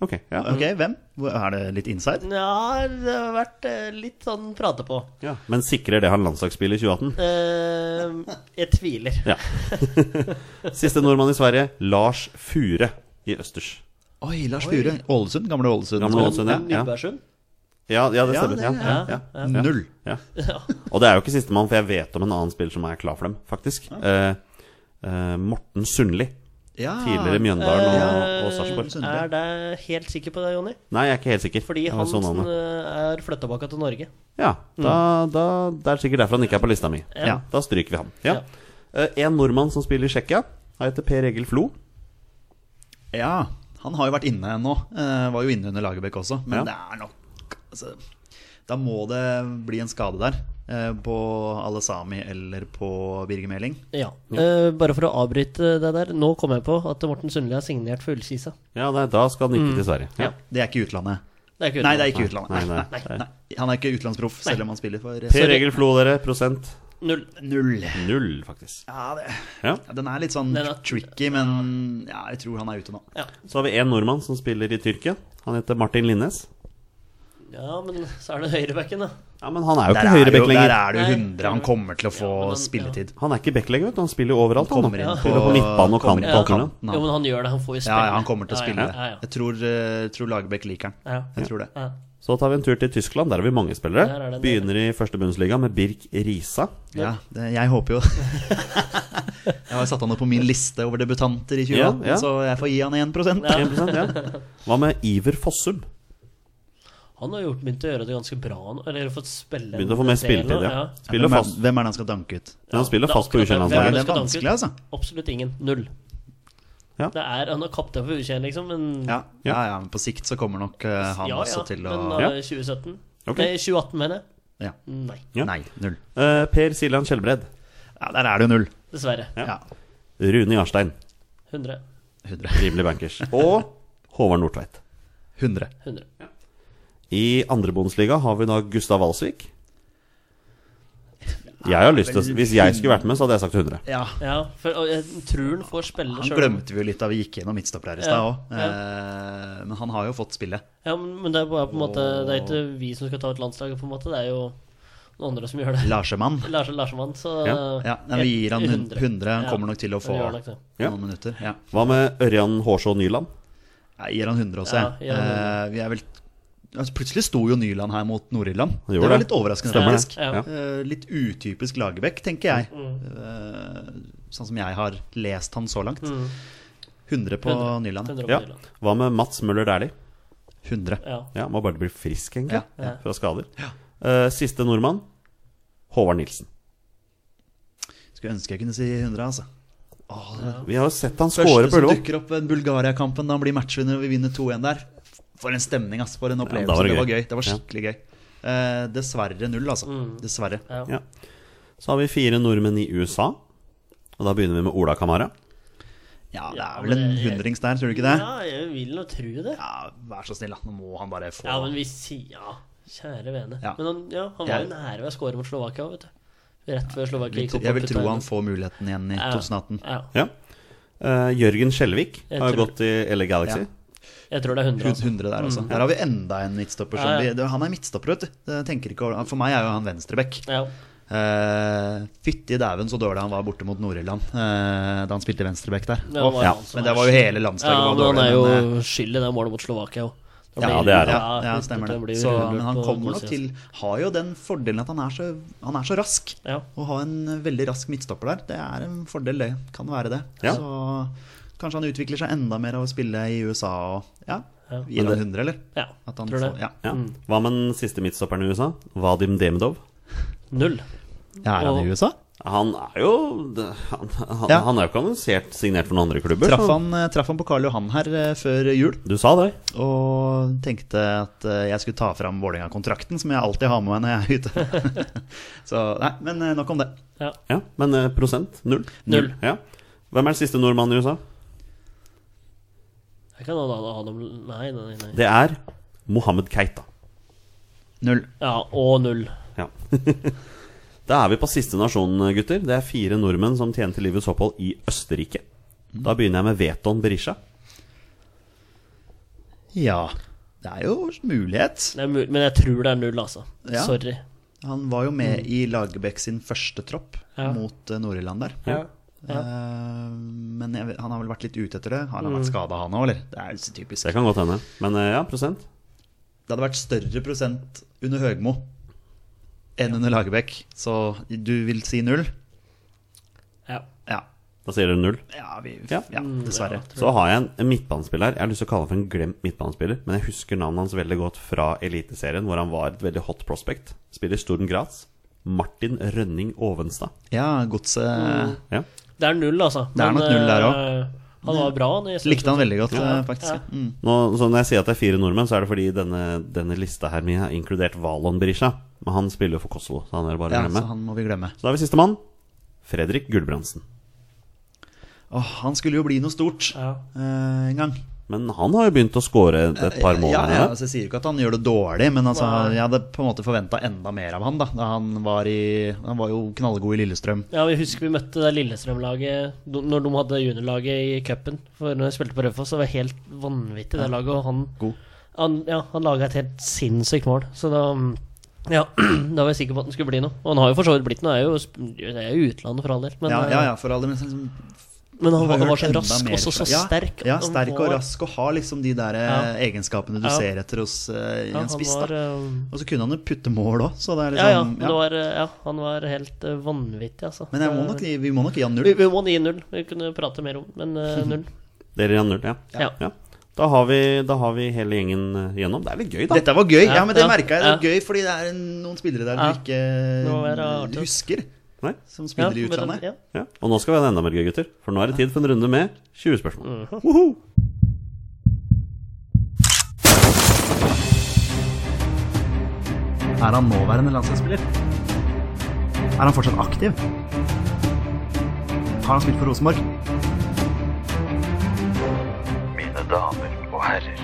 S1: Ok. Ja.
S4: Ok, hvem? Hvor- Er det litt inside?
S3: Ja, det har vært eh, litt sånn prate på.
S1: ja. Men sikrer det han landslagsspill i 2018?
S3: Eh, jeg tviler.
S1: Ja. Siste nordmann i Sverige, Lars Fure i østers.
S4: Oi, Lars Fure. Ålesund, gamle Ålesund.
S1: Gamle Ålesund, ja. ja.
S3: Nybergsund.
S1: Ja, ja, det
S4: Ja,
S1: stemmer.
S4: det-
S1: Ja, ja, ja.
S4: Ja. Null.
S1: Ja. Og det er jo ikke sistemann, for jeg vet om en annen spiller som er klar for dem, faktisk. Eh, eh, Morten Sundli.
S4: Ja.
S1: Tidligere Mjøndalen og, og Sarpsborg.
S4: Sunde.
S3: Er det helt sikker på det, Jonny?
S1: Nei, jeg er ikke helt sikker.
S3: Fordi
S1: Jeg har
S3: Hansen
S1: så
S4: sånn
S1: navnet.
S3: eh, er flytta tilbake til Norge.
S1: Ja, da, da, det er sikkert derfor han ikke er på lista mi.
S4: Ja.
S1: Da stryker vi han. Ja.
S3: Ja.
S1: Eh, en nordmann som spiller i Tsjekkia. Han heter Per Egil Flo.
S4: ja. Han har jo vært inne nå. Eh, var jo inne under Lagerbäck også. Men
S1: Ja.
S4: det er nok altså, Da må det bli en skade der. Eh, på Alesami eller på Birger Meling.
S3: Ja. Eh, bare for å avbryte det der. Nå kom jeg på at Morten Sundli har signert for Ullkisa.
S1: Ja, nei, da skal han ikke til Sverige. Mm. Ja.
S4: Det er ikke utlandet.
S3: Det er ikke
S4: Nei, det er ikke utlandet.
S1: Nei, nei,
S4: Nei, nei. Han er ikke utenlandsproff, selv om han spiller for
S1: Per Egil Flo, dere. Prosent
S3: Null.
S4: Null.
S1: null, faktisk.
S4: Ja, det,
S1: Ja.
S4: ja, den er litt sånn
S3: Den er-
S4: tricky, men ja, jeg tror han er ute nå.
S1: Så har vi en nordmann som spiller i Tyrkia. Han heter Martin Linnes.
S3: Ja, men så er det høyrebacken, da.
S1: Ja, Men han er jo
S4: Der
S1: ikke
S4: er, jo,
S1: høyrebekk
S4: der
S1: lenger.
S4: er det jo
S3: Nei.
S4: 100 han kommer til å få
S3: Ja, men han-
S4: spilletid.
S1: Han er ikke bekk lenger, vet du. Han spiller jo overalt. Han,
S4: Kommer
S1: nå.
S4: inn på-
S1: spiller på midtbane og kant.
S4: kommer
S1: og
S4: inn på
S1: alt mulig.
S4: kanten,
S3: Jo,
S4: han.
S3: men han gjør det. Han får jo
S4: Ja,
S3: spille.
S4: ja, han kommer til å spille.
S3: Ja, ja, ja.
S4: Jeg tror, eh, tror Lagerbäck liker han.
S3: ja. ja.
S4: Jeg tror det.
S3: ja.
S1: Så tar vi en tur til Tyskland. Der er vi mange
S3: Der er
S1: spillere.
S3: det en del.
S1: Begynner i første Bundesliga med Birk Risa.
S4: Ja, det, jeg håper jo Jeg har satt han opp på min liste over debutanter i
S1: Ja,
S4: 2018,
S1: ja.
S4: så jeg får gi han 1
S3: Ja.
S1: 1%, ja. Hva med Iver Fossum?
S3: Han har gjort begynt å gjøre det ganske bra. nå, Eller fått spille
S1: Begynte å få mer
S3: en del nå,
S1: spilletid, ja. Spiller
S4: Hvem er,
S1: fast.
S4: hvem er det han skal danke ut?
S1: Men han spiller
S3: det er
S1: fast på
S3: akkurat det.
S4: Det er
S3: Hvem
S1: U21-landslaget.
S3: det
S4: det
S3: skal danke ut?
S4: vanskelig, altså.
S3: Absolutt ingen. Null.
S1: Ja.
S3: Det er, han har kaptein for U21, liksom, men
S4: Ja, ja, ja, men på sikt så kommer nok eh, han også til å
S3: men
S1: Ja.
S3: eh, 2017
S1: Ok.
S3: Nei, 2018, mener jeg.
S4: ja.
S3: Nei,
S1: Ja.
S4: Nei, null.
S1: Eh, per Siljan Skjelbred.
S4: Ja, der er det jo null.
S3: dessverre.
S4: Ja.
S1: Rune Jarstein.
S3: 100.
S4: 100.
S1: Rimelig bankers. Og Håvard Nordtveit.
S4: 100.
S3: 100.
S1: I andre Bundesliga har vi da Gustav Alsvik. Jeg har lyst til å, Hvis jeg skulle vært med, så hadde jeg sagt 100.
S4: Ja,
S3: Ja, for og jeg tror han får spille
S4: Han
S3: sjøl.
S4: glemte vi jo litt da vi gikk gjennom midtstopper her i stad
S3: Ja,
S4: òg. Men han har jo fått spille.
S3: Ja, men men det er bare på en måte Det er ikke vi som skal ta ut landslaget, på en måte. Det er jo noen andre som gjør det.
S4: Larsemann.
S3: Lars Larsemann, så
S1: Ja,
S4: Ja, nei, vi gir han hun- 100. Han
S3: Ja,
S4: kommer nok til å få
S3: han gjør nok det.
S1: Ja.
S4: noen minutter. Ja.
S1: Hva med Ørjan Hårså Nyland?
S4: Jeg gir han 100 også,
S3: Ja,
S4: jeg.
S3: gir han 100.
S4: Eh, vi er vel altså, Plutselig sto jo Nyland her mot Nord-Irland.
S1: Han
S4: Det
S1: gjorde det.
S4: var litt overraskende,
S1: Stemmer
S4: faktisk.
S1: det.
S3: Ja.
S1: Ja.
S4: Eh, litt utypisk Lagerbäck, tenker jeg.
S3: Mm.
S4: Eh, sånn som jeg har lest han så langt.
S3: Mm.
S4: 100 på
S3: 100.
S4: Nyland.
S3: 100 på
S1: Ja.
S3: Nyland.
S1: Hva med Mats Møller Dæhlie?
S4: 100.
S3: Ja.
S1: Ja, må bare bli frisk, egentlig.
S4: Ja,
S3: ja.
S1: Fra skader. Eh, siste nordmann, Håvard Nilsen.
S4: Skulle ønske jeg kunne si 100, altså. Åh, det
S1: Vi har jo sett han score på
S4: Første som
S1: Ullevål.
S4: dukker opp ved Bulgaria-kampen da han blir matchvinner og vi vinner 2-1 der. For en stemning, ass. For en opplevelse.
S1: da var det
S4: det,
S1: gøy.
S4: var gøy. Det var skikkelig gøy. Eh, dessverre null, altså.
S3: Mm.
S4: Dessverre.
S1: Ja. Så har vi fire nordmenn i USA. Og da begynner vi med Ola Kamara.
S4: Ja, det
S3: Ja,
S4: er vel en
S3: men det-
S4: hundrings der, tror du ikke det?
S3: ja, jeg vil nå tro det.
S4: Ja, vær så snill, da. Nå må han bare få
S3: Ja, men vi sier Ja, kjære vene.
S4: Ja.
S3: Men han, ja, han var
S4: Jeg-
S3: jo nære ved å score mot Slovakia, vet du. Rett før Slovakia gikk opp.
S4: Jeg vil
S3: og putta
S4: tro
S3: inn.
S4: han får muligheten igjen i
S3: Ja.
S4: 2018.
S3: Ja,
S1: Ja. Eh, Jørgen Skjelvik
S3: Jeg
S1: har
S3: tror-
S1: gått i LA Galaxy.
S4: Ja.
S3: jeg tror det er 100.
S4: Rundt
S3: Altså.
S4: 100 der også. Der har vi enda en midtstopper. Som
S3: Ja, ja.
S4: vi, det- han er midtstopper, vet du. Jeg Tenker ikke, over- for meg er jo han venstreback.
S3: Ja.
S4: Eh, fytti dæven så dårlig han var borte mot Nord-Irland eh, da han spilte venstreback der.
S3: Det var
S4: Åh,
S3: han
S4: ja.
S3: som var
S4: Men det var jo hele landslaget.
S3: ja,
S4: var
S3: men han er
S4: dårlig, men, eh,
S3: jo skyld i det målet mot Slovakia òg.
S1: Ja, det er han.
S4: Ja, ja, stemmer det. Så, men han kommer nok til Har jo den fordelen at han er så, han er så rask.
S3: Ja.
S4: Å ha en veldig rask midtstopper der, det er en fordel, det. Kan være det.
S1: Ja.
S4: Så kanskje han utvikler seg enda mer av å spille i USA og Ja.
S3: Ja.
S4: Gir han 100, eller?
S3: Ja,
S4: At han
S3: tror det.
S4: får, ja.
S1: Ja. Hva med den siste midtstopperen i USA? Vadim Demidov.
S3: Null.
S4: ja, er han
S3: Og-
S4: i USA?
S1: Han er jo Han, han,
S4: Ja.
S1: han er jo ikke annonsert signert for noen andre klubber.
S4: Traff
S1: så-
S4: han, traff han på Karl Johan her eh, før jul
S1: Du sa det.
S4: og tenkte at eh, jeg skulle ta fram Vålerenga-kontrakten, som jeg alltid har med meg når jeg er ute. så nei, men eh, nok om det.
S3: Ja.
S1: Ja, Men eh, prosent? Null?
S3: Null.
S1: Ja. Hvem er den siste nordmannen i USA?
S3: Jeg kan ha, ha dem Nei, nei, nei.
S1: Det er Mohammed Keita.
S4: Null.
S3: Ja, og null.
S1: Ja. da er vi på siste nasjon, gutter. Det er fire nordmenn som tjener til livets opphold i Østerrike. Da begynner jeg med Veton Berisha.
S4: Ja. Det er jo mulighet.
S3: Det er mulig, men jeg tror det er null, altså.
S4: Ja.
S3: Sorry.
S4: Han var jo med i Lagerbäck sin første tropp
S3: Ja.
S4: mot eh, Nord-Irland der.
S3: Ja. Ja. Mm.
S4: Eh, men jeg, vet- han har vel vært litt ute etter det. Har han vært skada, han òg, eller? Det er jo så typisk.
S1: Det kan godt hende. Men eh, ja, prosent.
S4: Det hadde vært større prosent under Høgmo enn under Lagerbäck. Så du vil si null?
S3: Ja.
S4: Ja.
S1: Da sier dere null.
S4: Ja, vi,
S1: Ja.
S4: ja. dessverre.
S1: Så har jeg en- en midtbanespiller. Jeg har lyst til å kalle han for en glemt midtbanespiller, men jeg husker navnet hans veldig godt fra Eliteserien, hvor han var et veldig hot prospect. Spiller i Storden Graz. Martin Rønning Ovenstad.
S4: Ja, godset
S3: Mm.
S1: Ja.
S3: Det er null, altså.
S4: Det er nok null der
S3: eh, Han var bra. han, i Sørensund.
S4: likte han veldig godt, eh, faktisk.
S3: Ja.
S4: Ja. Mm.
S1: Nå, så når jeg sier at det er fire nordmenn, så er det fordi denne, denne lista her mi har inkludert Valon Berisha. Men han spiller jo for Kosovo, så han er det bare å
S4: ja,
S1: glemme.
S4: så han må vi glemme.
S1: Så da har vi sistemann. Fredrik Gulbrandsen.
S4: Åh, han skulle jo bli noe stort
S3: Ja.
S4: eh, en gang.
S1: Men han har jo begynt å score et par mål.
S4: Ja, ja,
S1: her.
S4: altså, jeg sier jo ikke at han gjør det dårlig, men altså,
S3: Nei.
S4: jeg hadde på en måte forventa enda mer av han da, da han var i Han var jo knallgod i Lillestrøm.
S3: Ja, vi husker vi møtte det Lillestrøm-laget do- når de hadde juniorlaget i cupen. For når jeg spilte på Raufoss, så var det helt vanvittig, det laget. Og han,
S4: God.
S3: han, ja, han laga et helt sinnssykt mål. Så da ja, da var jeg sikker på at den skulle bli noe. Og han har jo for så vidt blitt noe. Er jo, sp- det er jo utlandet for all del. Men,
S4: Ja, ja, ja, for alle, men liksom,
S3: men han,
S4: har
S3: var- han
S4: hørt
S3: var så
S4: enda
S3: rask,
S4: mer
S3: og så
S4: fra-
S3: så
S4: ja,
S3: sterk.
S4: Ja,
S3: Han
S4: sterk og
S3: var-
S4: rask, og har liksom de der eh,
S3: Ja.
S4: egenskapene du
S3: Ja.
S4: ser etter hos eh, i
S3: Ja, han
S4: en spiss.
S3: var,
S4: da.
S3: eh,
S4: Og så kunne han jo putte mål òg, så det er
S3: ja, ja,
S4: liksom
S3: det var, eh, ja, han var helt eh, vanvittig, altså.
S4: Men jeg må nok, gi- vi må nok gi han null.
S3: vi, vi må gi null. Vi kunne prate mer om men eh, null.
S1: Dere gir han null, ja.
S3: Ja.
S1: ja. Da, har vi, da har vi hele gjengen eh, gjennom. Det er litt gøy, da.
S4: Dette var gøy! Ja,
S3: Ja,
S4: men det
S3: ja,
S4: merka jeg. Det var
S3: ja.
S4: gøy fordi det er en- noen spillere der
S3: Ja.
S4: du ikke
S3: Nå er det artig.
S4: husker,
S1: Nei?
S4: som spiller i
S3: Ja, men-
S4: utlandet.
S3: Ja.
S1: Ja. Og nå skal vi ha det enda mer gøy, gutter. For nå er det tid for en runde med 20 spørsmål.
S4: Woho! Er han nåværende landslagsspiller? Er han fortsatt aktiv? Har han spilt for Rosenborg?
S7: Mine damer og herrer,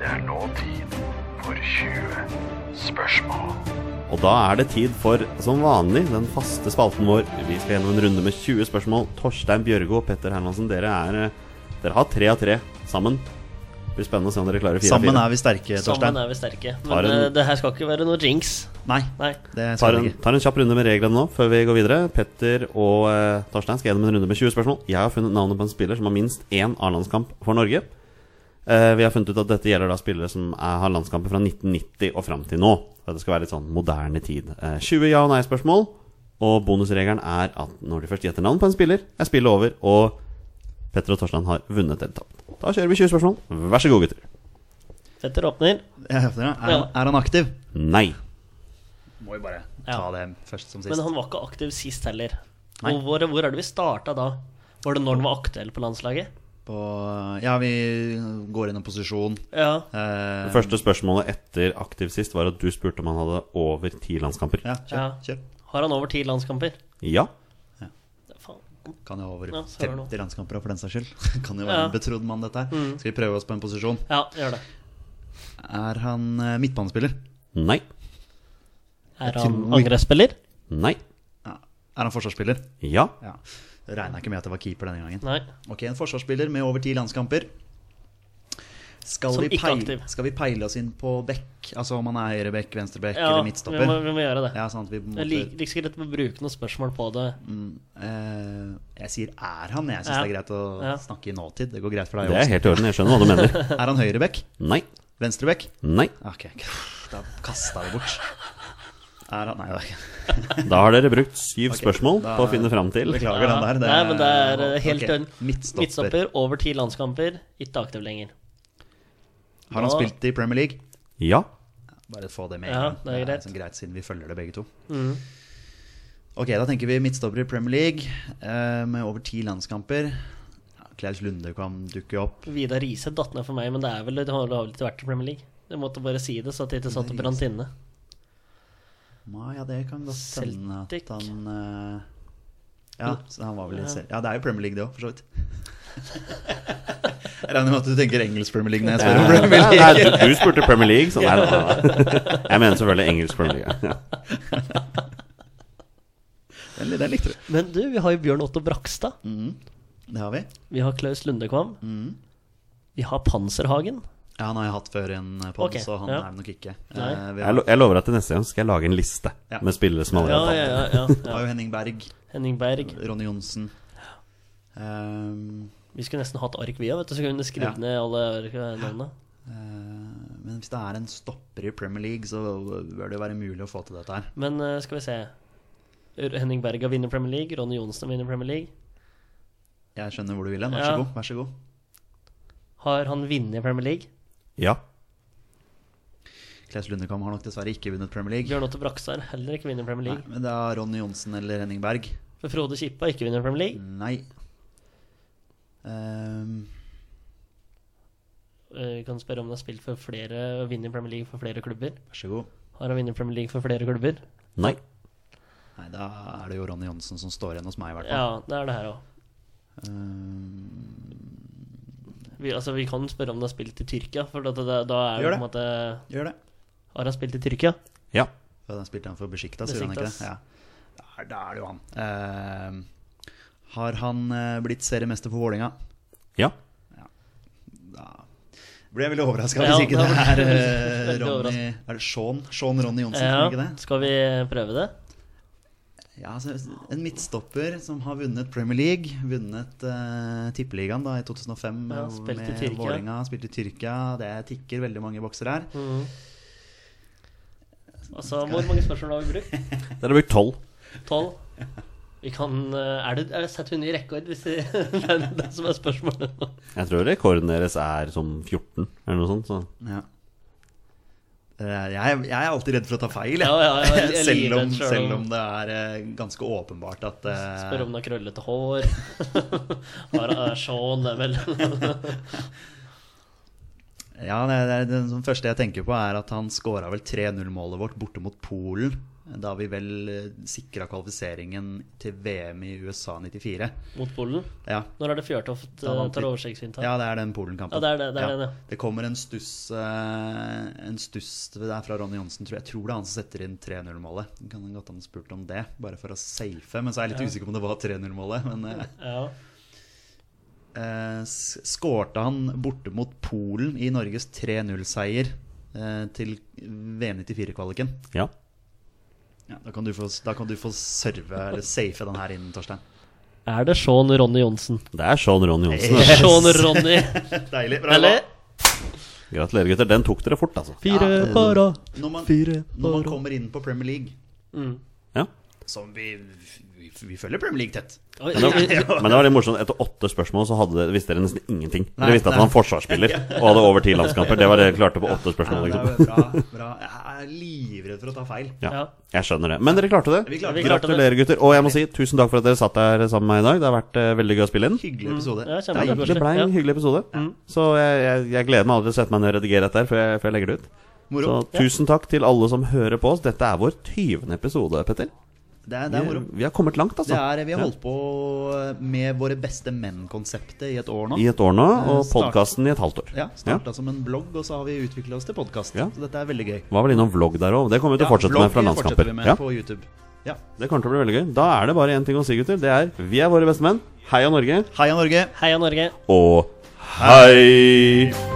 S7: det er nå tid for 20 spørsmål.
S1: Og da er det tid for, som vanlig, den faste spalten vår. Vi skal gjennom en runde med 20 spørsmål. Torstein Bjørgo og Petter Hermansen, dere er eh, Dere har tre av tre sammen. Det blir spennende å se om dere klarer fire av
S4: Sammen
S1: fire.
S4: er vi sterke,
S3: Sammen
S4: Torstein.
S3: er vi sterke.
S1: Har
S3: Men
S1: en-
S3: eh, det her skal ikke være noe jinx.
S4: Nei,
S3: Nei.
S4: det
S1: Tar
S4: skal
S1: en,
S4: vi ikke.
S1: tar en kjapp runde med reglene nå før vi går videre. Petter og eh, Torstein skal gjennom en runde med 20 spørsmål. Jeg har funnet navnet på en spiller som har minst én A-landskamp for Norge. Eh, vi har funnet ut at dette gjelder da spillere som er, har landskamper fra 1990 og fram til nå. For at det skal være litt sånn moderne tid. Eh, 20 ja- og nei-spørsmål. Og bonusregelen er at når de først gjetter navn på en spiller, er spillet over, og Petter og Torstein har vunnet eller tapt. Da kjører vi 20 spørsmål. Vær så god, gutter.
S3: Petter åpner.
S4: Jeg hører dere. Er,
S3: Ja.
S4: han- er han aktiv?
S1: Nei.
S4: Må jo bare
S3: Ja.
S4: ta det først som
S3: Men
S4: sist.
S3: han var ikke aktiv sist heller. Og hvor, hvor er det vi starta da? Var det når han var aktuell på landslaget?
S4: På, ja, vi går inn i posisjon.
S3: Ja.
S4: Eh,
S1: Det første spørsmålet etter aktiv sist var at du spurte om han hadde over ti landskamper.
S4: Ja,
S3: Ja.
S4: kjør. kjør.
S3: Har han over ti landskamper?
S1: Ja.
S3: Faen.
S4: Kan jo ha over
S3: Ja, så er det noe.
S4: 50 landskamper, for den saks skyld. Kan jo være
S3: Ja. Mm.
S4: en betrodd mann, dette her. Skal vi prøve oss på en posisjon?
S3: Ja, gjør det.
S4: Er han eh, midtbanespiller?
S1: Nei.
S3: Er
S4: Jeg
S3: han
S4: tror-
S3: angrepsspiller?
S1: Nei.
S4: Ja. Er han forsvarsspiller?
S1: Ja.
S4: Ja. Regna ikke med at det var keeper denne gangen.
S3: Nei.
S4: Ok, en forsvarsspiller med over ti landskamper. Skal
S3: Som
S4: vi,
S3: ikke
S4: peile,
S3: aktiv.
S4: skal vi peile oss inn på bekk? Altså om han er høyrebekk, venstrebekk
S3: Ja,
S4: eller
S3: vi
S4: midtstopper?
S3: må, vi må gjøre det.
S4: Ja, sånn at vi på en
S3: Jeg
S4: måte,
S3: liker ikke så greit å bruke noen spørsmål på det.
S4: eh, Jeg sier er han, jeg syns
S3: Ja.
S4: det er greit å
S3: Ja.
S4: snakke i nåtid. Det går greit for deg
S1: Det er
S4: også.
S1: helt i orden. Jeg skjønner hva du mener.
S4: Er han høyrebekk?
S1: Nei.
S4: Venstrebekk?
S1: Nei.
S4: Ok, da kasta jeg det bort. Er han Nei, det er ikke
S1: Da har dere brukt syv spørsmål
S4: da-
S1: på å finne fram til.
S4: Beklager
S3: Ja.
S4: den der.
S3: Nei, men det er eh, helt
S4: Ok,
S3: dønn.
S4: Midtstopper.
S3: Midtstopper, over ti landskamper, ikke aktiv lenger.
S4: Har han
S3: Da-
S4: spilt i Premier League?
S1: Ja.
S4: Bare få det med.
S3: Ja,
S4: en gang.
S3: det er greit. Mm.
S4: sånn greit siden vi følger det begge to. Ok, da tenker vi midtstopper i Premier League eh, med over ti landskamper. Ja, Klaus Lunde kan dukke opp.
S3: Vidar Riise datt ned for meg, men det er vel, det har vel ikke vært i Premier League. Jeg måtte bare si det, så at jeg ikke satt og brant inne.
S4: Nei, Ja, det kan godt hende
S3: Celtic. Mm.
S4: at han eh, ja, så han var vel i Cel- ja, det er jo Premier League, det òg, for så vidt. Jeg regner med at du tenker engelsk Premier League når jeg spør om
S1: Nei,
S4: Premier League.
S1: nei, du, du spurte Premier League, så nei, nei, nei. Jeg mener selvfølgelig engelsk Premier League. ja.
S4: Den, den likte du.
S3: Men du, vi har jo Bjørn Otto Brakstad.
S4: Det har vi.
S3: Vi har Klaus Lundekvam.
S4: Mm.
S3: Vi har Panserhagen.
S4: Ja, han har jeg hatt før i en pod,
S3: Ok,
S4: så han
S3: ja.
S4: er det nok ikke.
S3: Nei.
S4: Eh, vi
S1: Jeg,
S4: har,
S1: lo jeg lover at til neste gang skal jeg lage en liste
S4: Ja.
S1: med spillere som
S3: Ja,
S1: allerede
S3: ja,
S1: har tatt.
S3: ja. ja, ja.
S4: har jo Henning Berg,
S3: Henning Berg.
S4: Ronny Johnsen Ehm,
S3: Vi skulle nesten hatt ark, vi òg, vet du. Så kunne vi skrevet
S4: Ja.
S3: ned alle ark-navnene.
S4: eh, Men hvis det er en stopper i Premier League, så bør det jo være mulig å få til dette her.
S3: Men eh, skal vi se. R- Henning Berg har vunnet Premier League. Ronny Johnsen har vunnet Premier League.
S4: Jeg skjønner hvor du vil hen. Vær
S3: Ja.
S4: så god. Vær så god.
S3: Har han vunnet Premier League?
S1: Ja.
S4: Klaus Lundekam har nok dessverre ikke vunnet Premier League.
S3: Bjørn Otto Brakstad har heller ikke vunnet Premier
S4: Nei,
S3: League.
S4: men det er Ronny Johnsen eller Henning Berg.
S3: For Frode Kippe har ikke vunnet Premier League.
S4: Nei. Ehm,
S3: Eh, Vi kan spørre om han har spilt for flere og vunnet Premier League for flere klubber.
S4: vær så god.
S3: Har han vunnet Premier League for flere klubber?
S1: Nei.
S4: Nei, da er det jo Ronny Johnsen som står igjen hos meg, i hvert fall.
S3: Ja, det er det her òg.
S4: Ehm,
S3: Vi, altså, vi kan spørre om han har spilt i Tyrkia, for da, da, da er det
S4: Gjør
S3: på en måte
S4: gjør det.
S3: Har han spilt i Tyrkia?
S1: Ja.
S4: Ja, den spilte han for Besiktas, gjorde han ikke det? Ja. Da er- Da er det jo han. Ehm, har han eh, blitt seriemester for Vålerenga?
S1: Ja.
S4: Blir jeg veldig overraska
S3: Ja,
S4: hvis ikke
S3: da
S4: det
S3: blir
S4: er
S3: jeg
S4: eh,
S3: veldig
S4: Ronny
S3: overrasket.
S4: Er det Sean? Sean Ronny Johnsen, er det
S3: Ja,
S4: ikke det?
S3: skal vi prøve det?
S4: Ja, altså, en midtstopper som har vunnet Premier League, vunnet eh, Tippeligaen da i 2005
S3: Ja,
S4: eh,
S3: spilt i
S4: med
S3: Tyrkia.
S4: Vålerenga, spilt i Tyrkia. Det tikker veldig mange bokser her.
S3: Altså, Hvor mange spørsmål har vi brukt?
S1: Dere har brukt tolv.
S3: Tolv? Vi kan eh, Er det, er det satt under i rekord, hvis det, det er det som er spørsmålet? nå.
S1: Jeg tror rekorden deres er som 14, eller noe sånt. Så.
S4: Ja. Eh, Jeg, jeg er alltid redd for å ta feil, jeg.
S3: Ja, ja, ja, jeg er
S4: selv, om,
S3: livredd selv
S4: selv
S3: om-
S4: om det er eh, ganske åpenbart at eh,
S3: Spør om han har krøllete hår. Har uh, Sean det, vel?
S4: Ja, det, det, det, som første jeg tenker på, er at han scora vel 3-0-målet vårt borte mot Polen. Da vi vel eh, sikra kvalifiseringen til VM i USA 94.
S3: Mot Polen.
S4: Ja,
S3: Når er det Fjørtoft
S4: Da
S3: eh,
S4: vant vi.
S3: tar oversiktsvinter?
S4: Ja, det er den Polen-kampen.
S3: Ja, det er det, det er den, ja.
S4: Det kommer en stuss eh, En stuss det er fra Ronny Johnsen, tror jeg. Jeg tror det er han som setter inn 3-0-målet. Det Kan godt han spurt om det, bare for å safe. Men så er jeg litt usikker på om det var 3-0-målet. Men eh,
S3: Ja.
S4: eh, s- skårte han borte mot Polen i Norges 3-0-seier eh, til V94-kvaliken.
S1: Ja.
S4: Ja, da, kan du få- da kan du få serve eller safe den her inn, Torstein.
S3: Er det Sean Ronny Johnsen?
S1: Det er Sean altså. Ronny Johnsen.
S4: Yes.
S3: Sean Ronny!
S4: Deilig. Bra.
S3: Eller?
S1: Gratulerer, gutter. Den tok dere fort, altså.
S3: Fire
S4: Ja, det-
S3: para.
S4: Når man,
S3: Fire
S4: når man
S3: para.
S4: kommer inn på Premier League
S1: Ja.
S4: Som vi, vi, vi følger Premier League tett.
S3: Oi,
S1: Men det, men det var litt morsomt. Etter åtte spørsmål så hadde, visste dere nesten ingenting.
S4: Nei,
S1: Dere visste at
S4: nei.
S1: han var forsvarsspiller og hadde over ti landskamper. Det var det dere klarte på åtte spørsmål.
S4: Ja,
S1: Liksom.
S4: det er bra, bra. Jeg er livredd for å ta feil.
S1: Ja,
S3: Ja.
S1: jeg skjønner det. Men dere klarte det.
S4: Vi klarte
S3: Vi
S4: det.
S3: klarte det.
S1: Gratulerer, gutter. Og jeg må si tusen takk for at dere satt der sammen med meg i dag. Det har vært eh, veldig gøy å spille inn.
S4: Hyggelig episode.
S3: Mm. Ja,
S4: Det er
S3: kjempekoselig.
S1: Det ble
S3: Ja.
S1: en hyggelig episode. Så jeg, jeg, jeg gleder meg aldri til å sette meg ned og redigere dette her før jeg, før jeg legger det ut. Så
S4: moro.
S1: tusen takk til alle som hører på oss. Dette er vår 20. episode, Petter.
S4: Det er, det er
S1: Vi,
S4: moro.
S1: vi har kommet langt, altså.
S4: Det er, vi har holdt på med våre beste menn-konseptet i et år nå.
S1: I et år nå, og
S4: Start.
S1: podkasten i et halvt år.
S4: Ja, Starta som en blogg, og så har vi utvikla oss til podkast.
S1: Ja.
S4: Så dette er veldig gøy.
S1: Var vel innom vlogg der òg. Det kommer vi til å fortsette med fra
S4: blogg
S1: landskamper.
S4: fortsetter vi med
S1: Ja,
S4: på YouTube. Ja.
S1: det kommer til å bli veldig gøy. Da er det bare én ting å si, gutter. Det er vi er våre beste menn. Heia Norge.
S4: Heia Norge!
S3: Heia Norge!
S1: Og hei!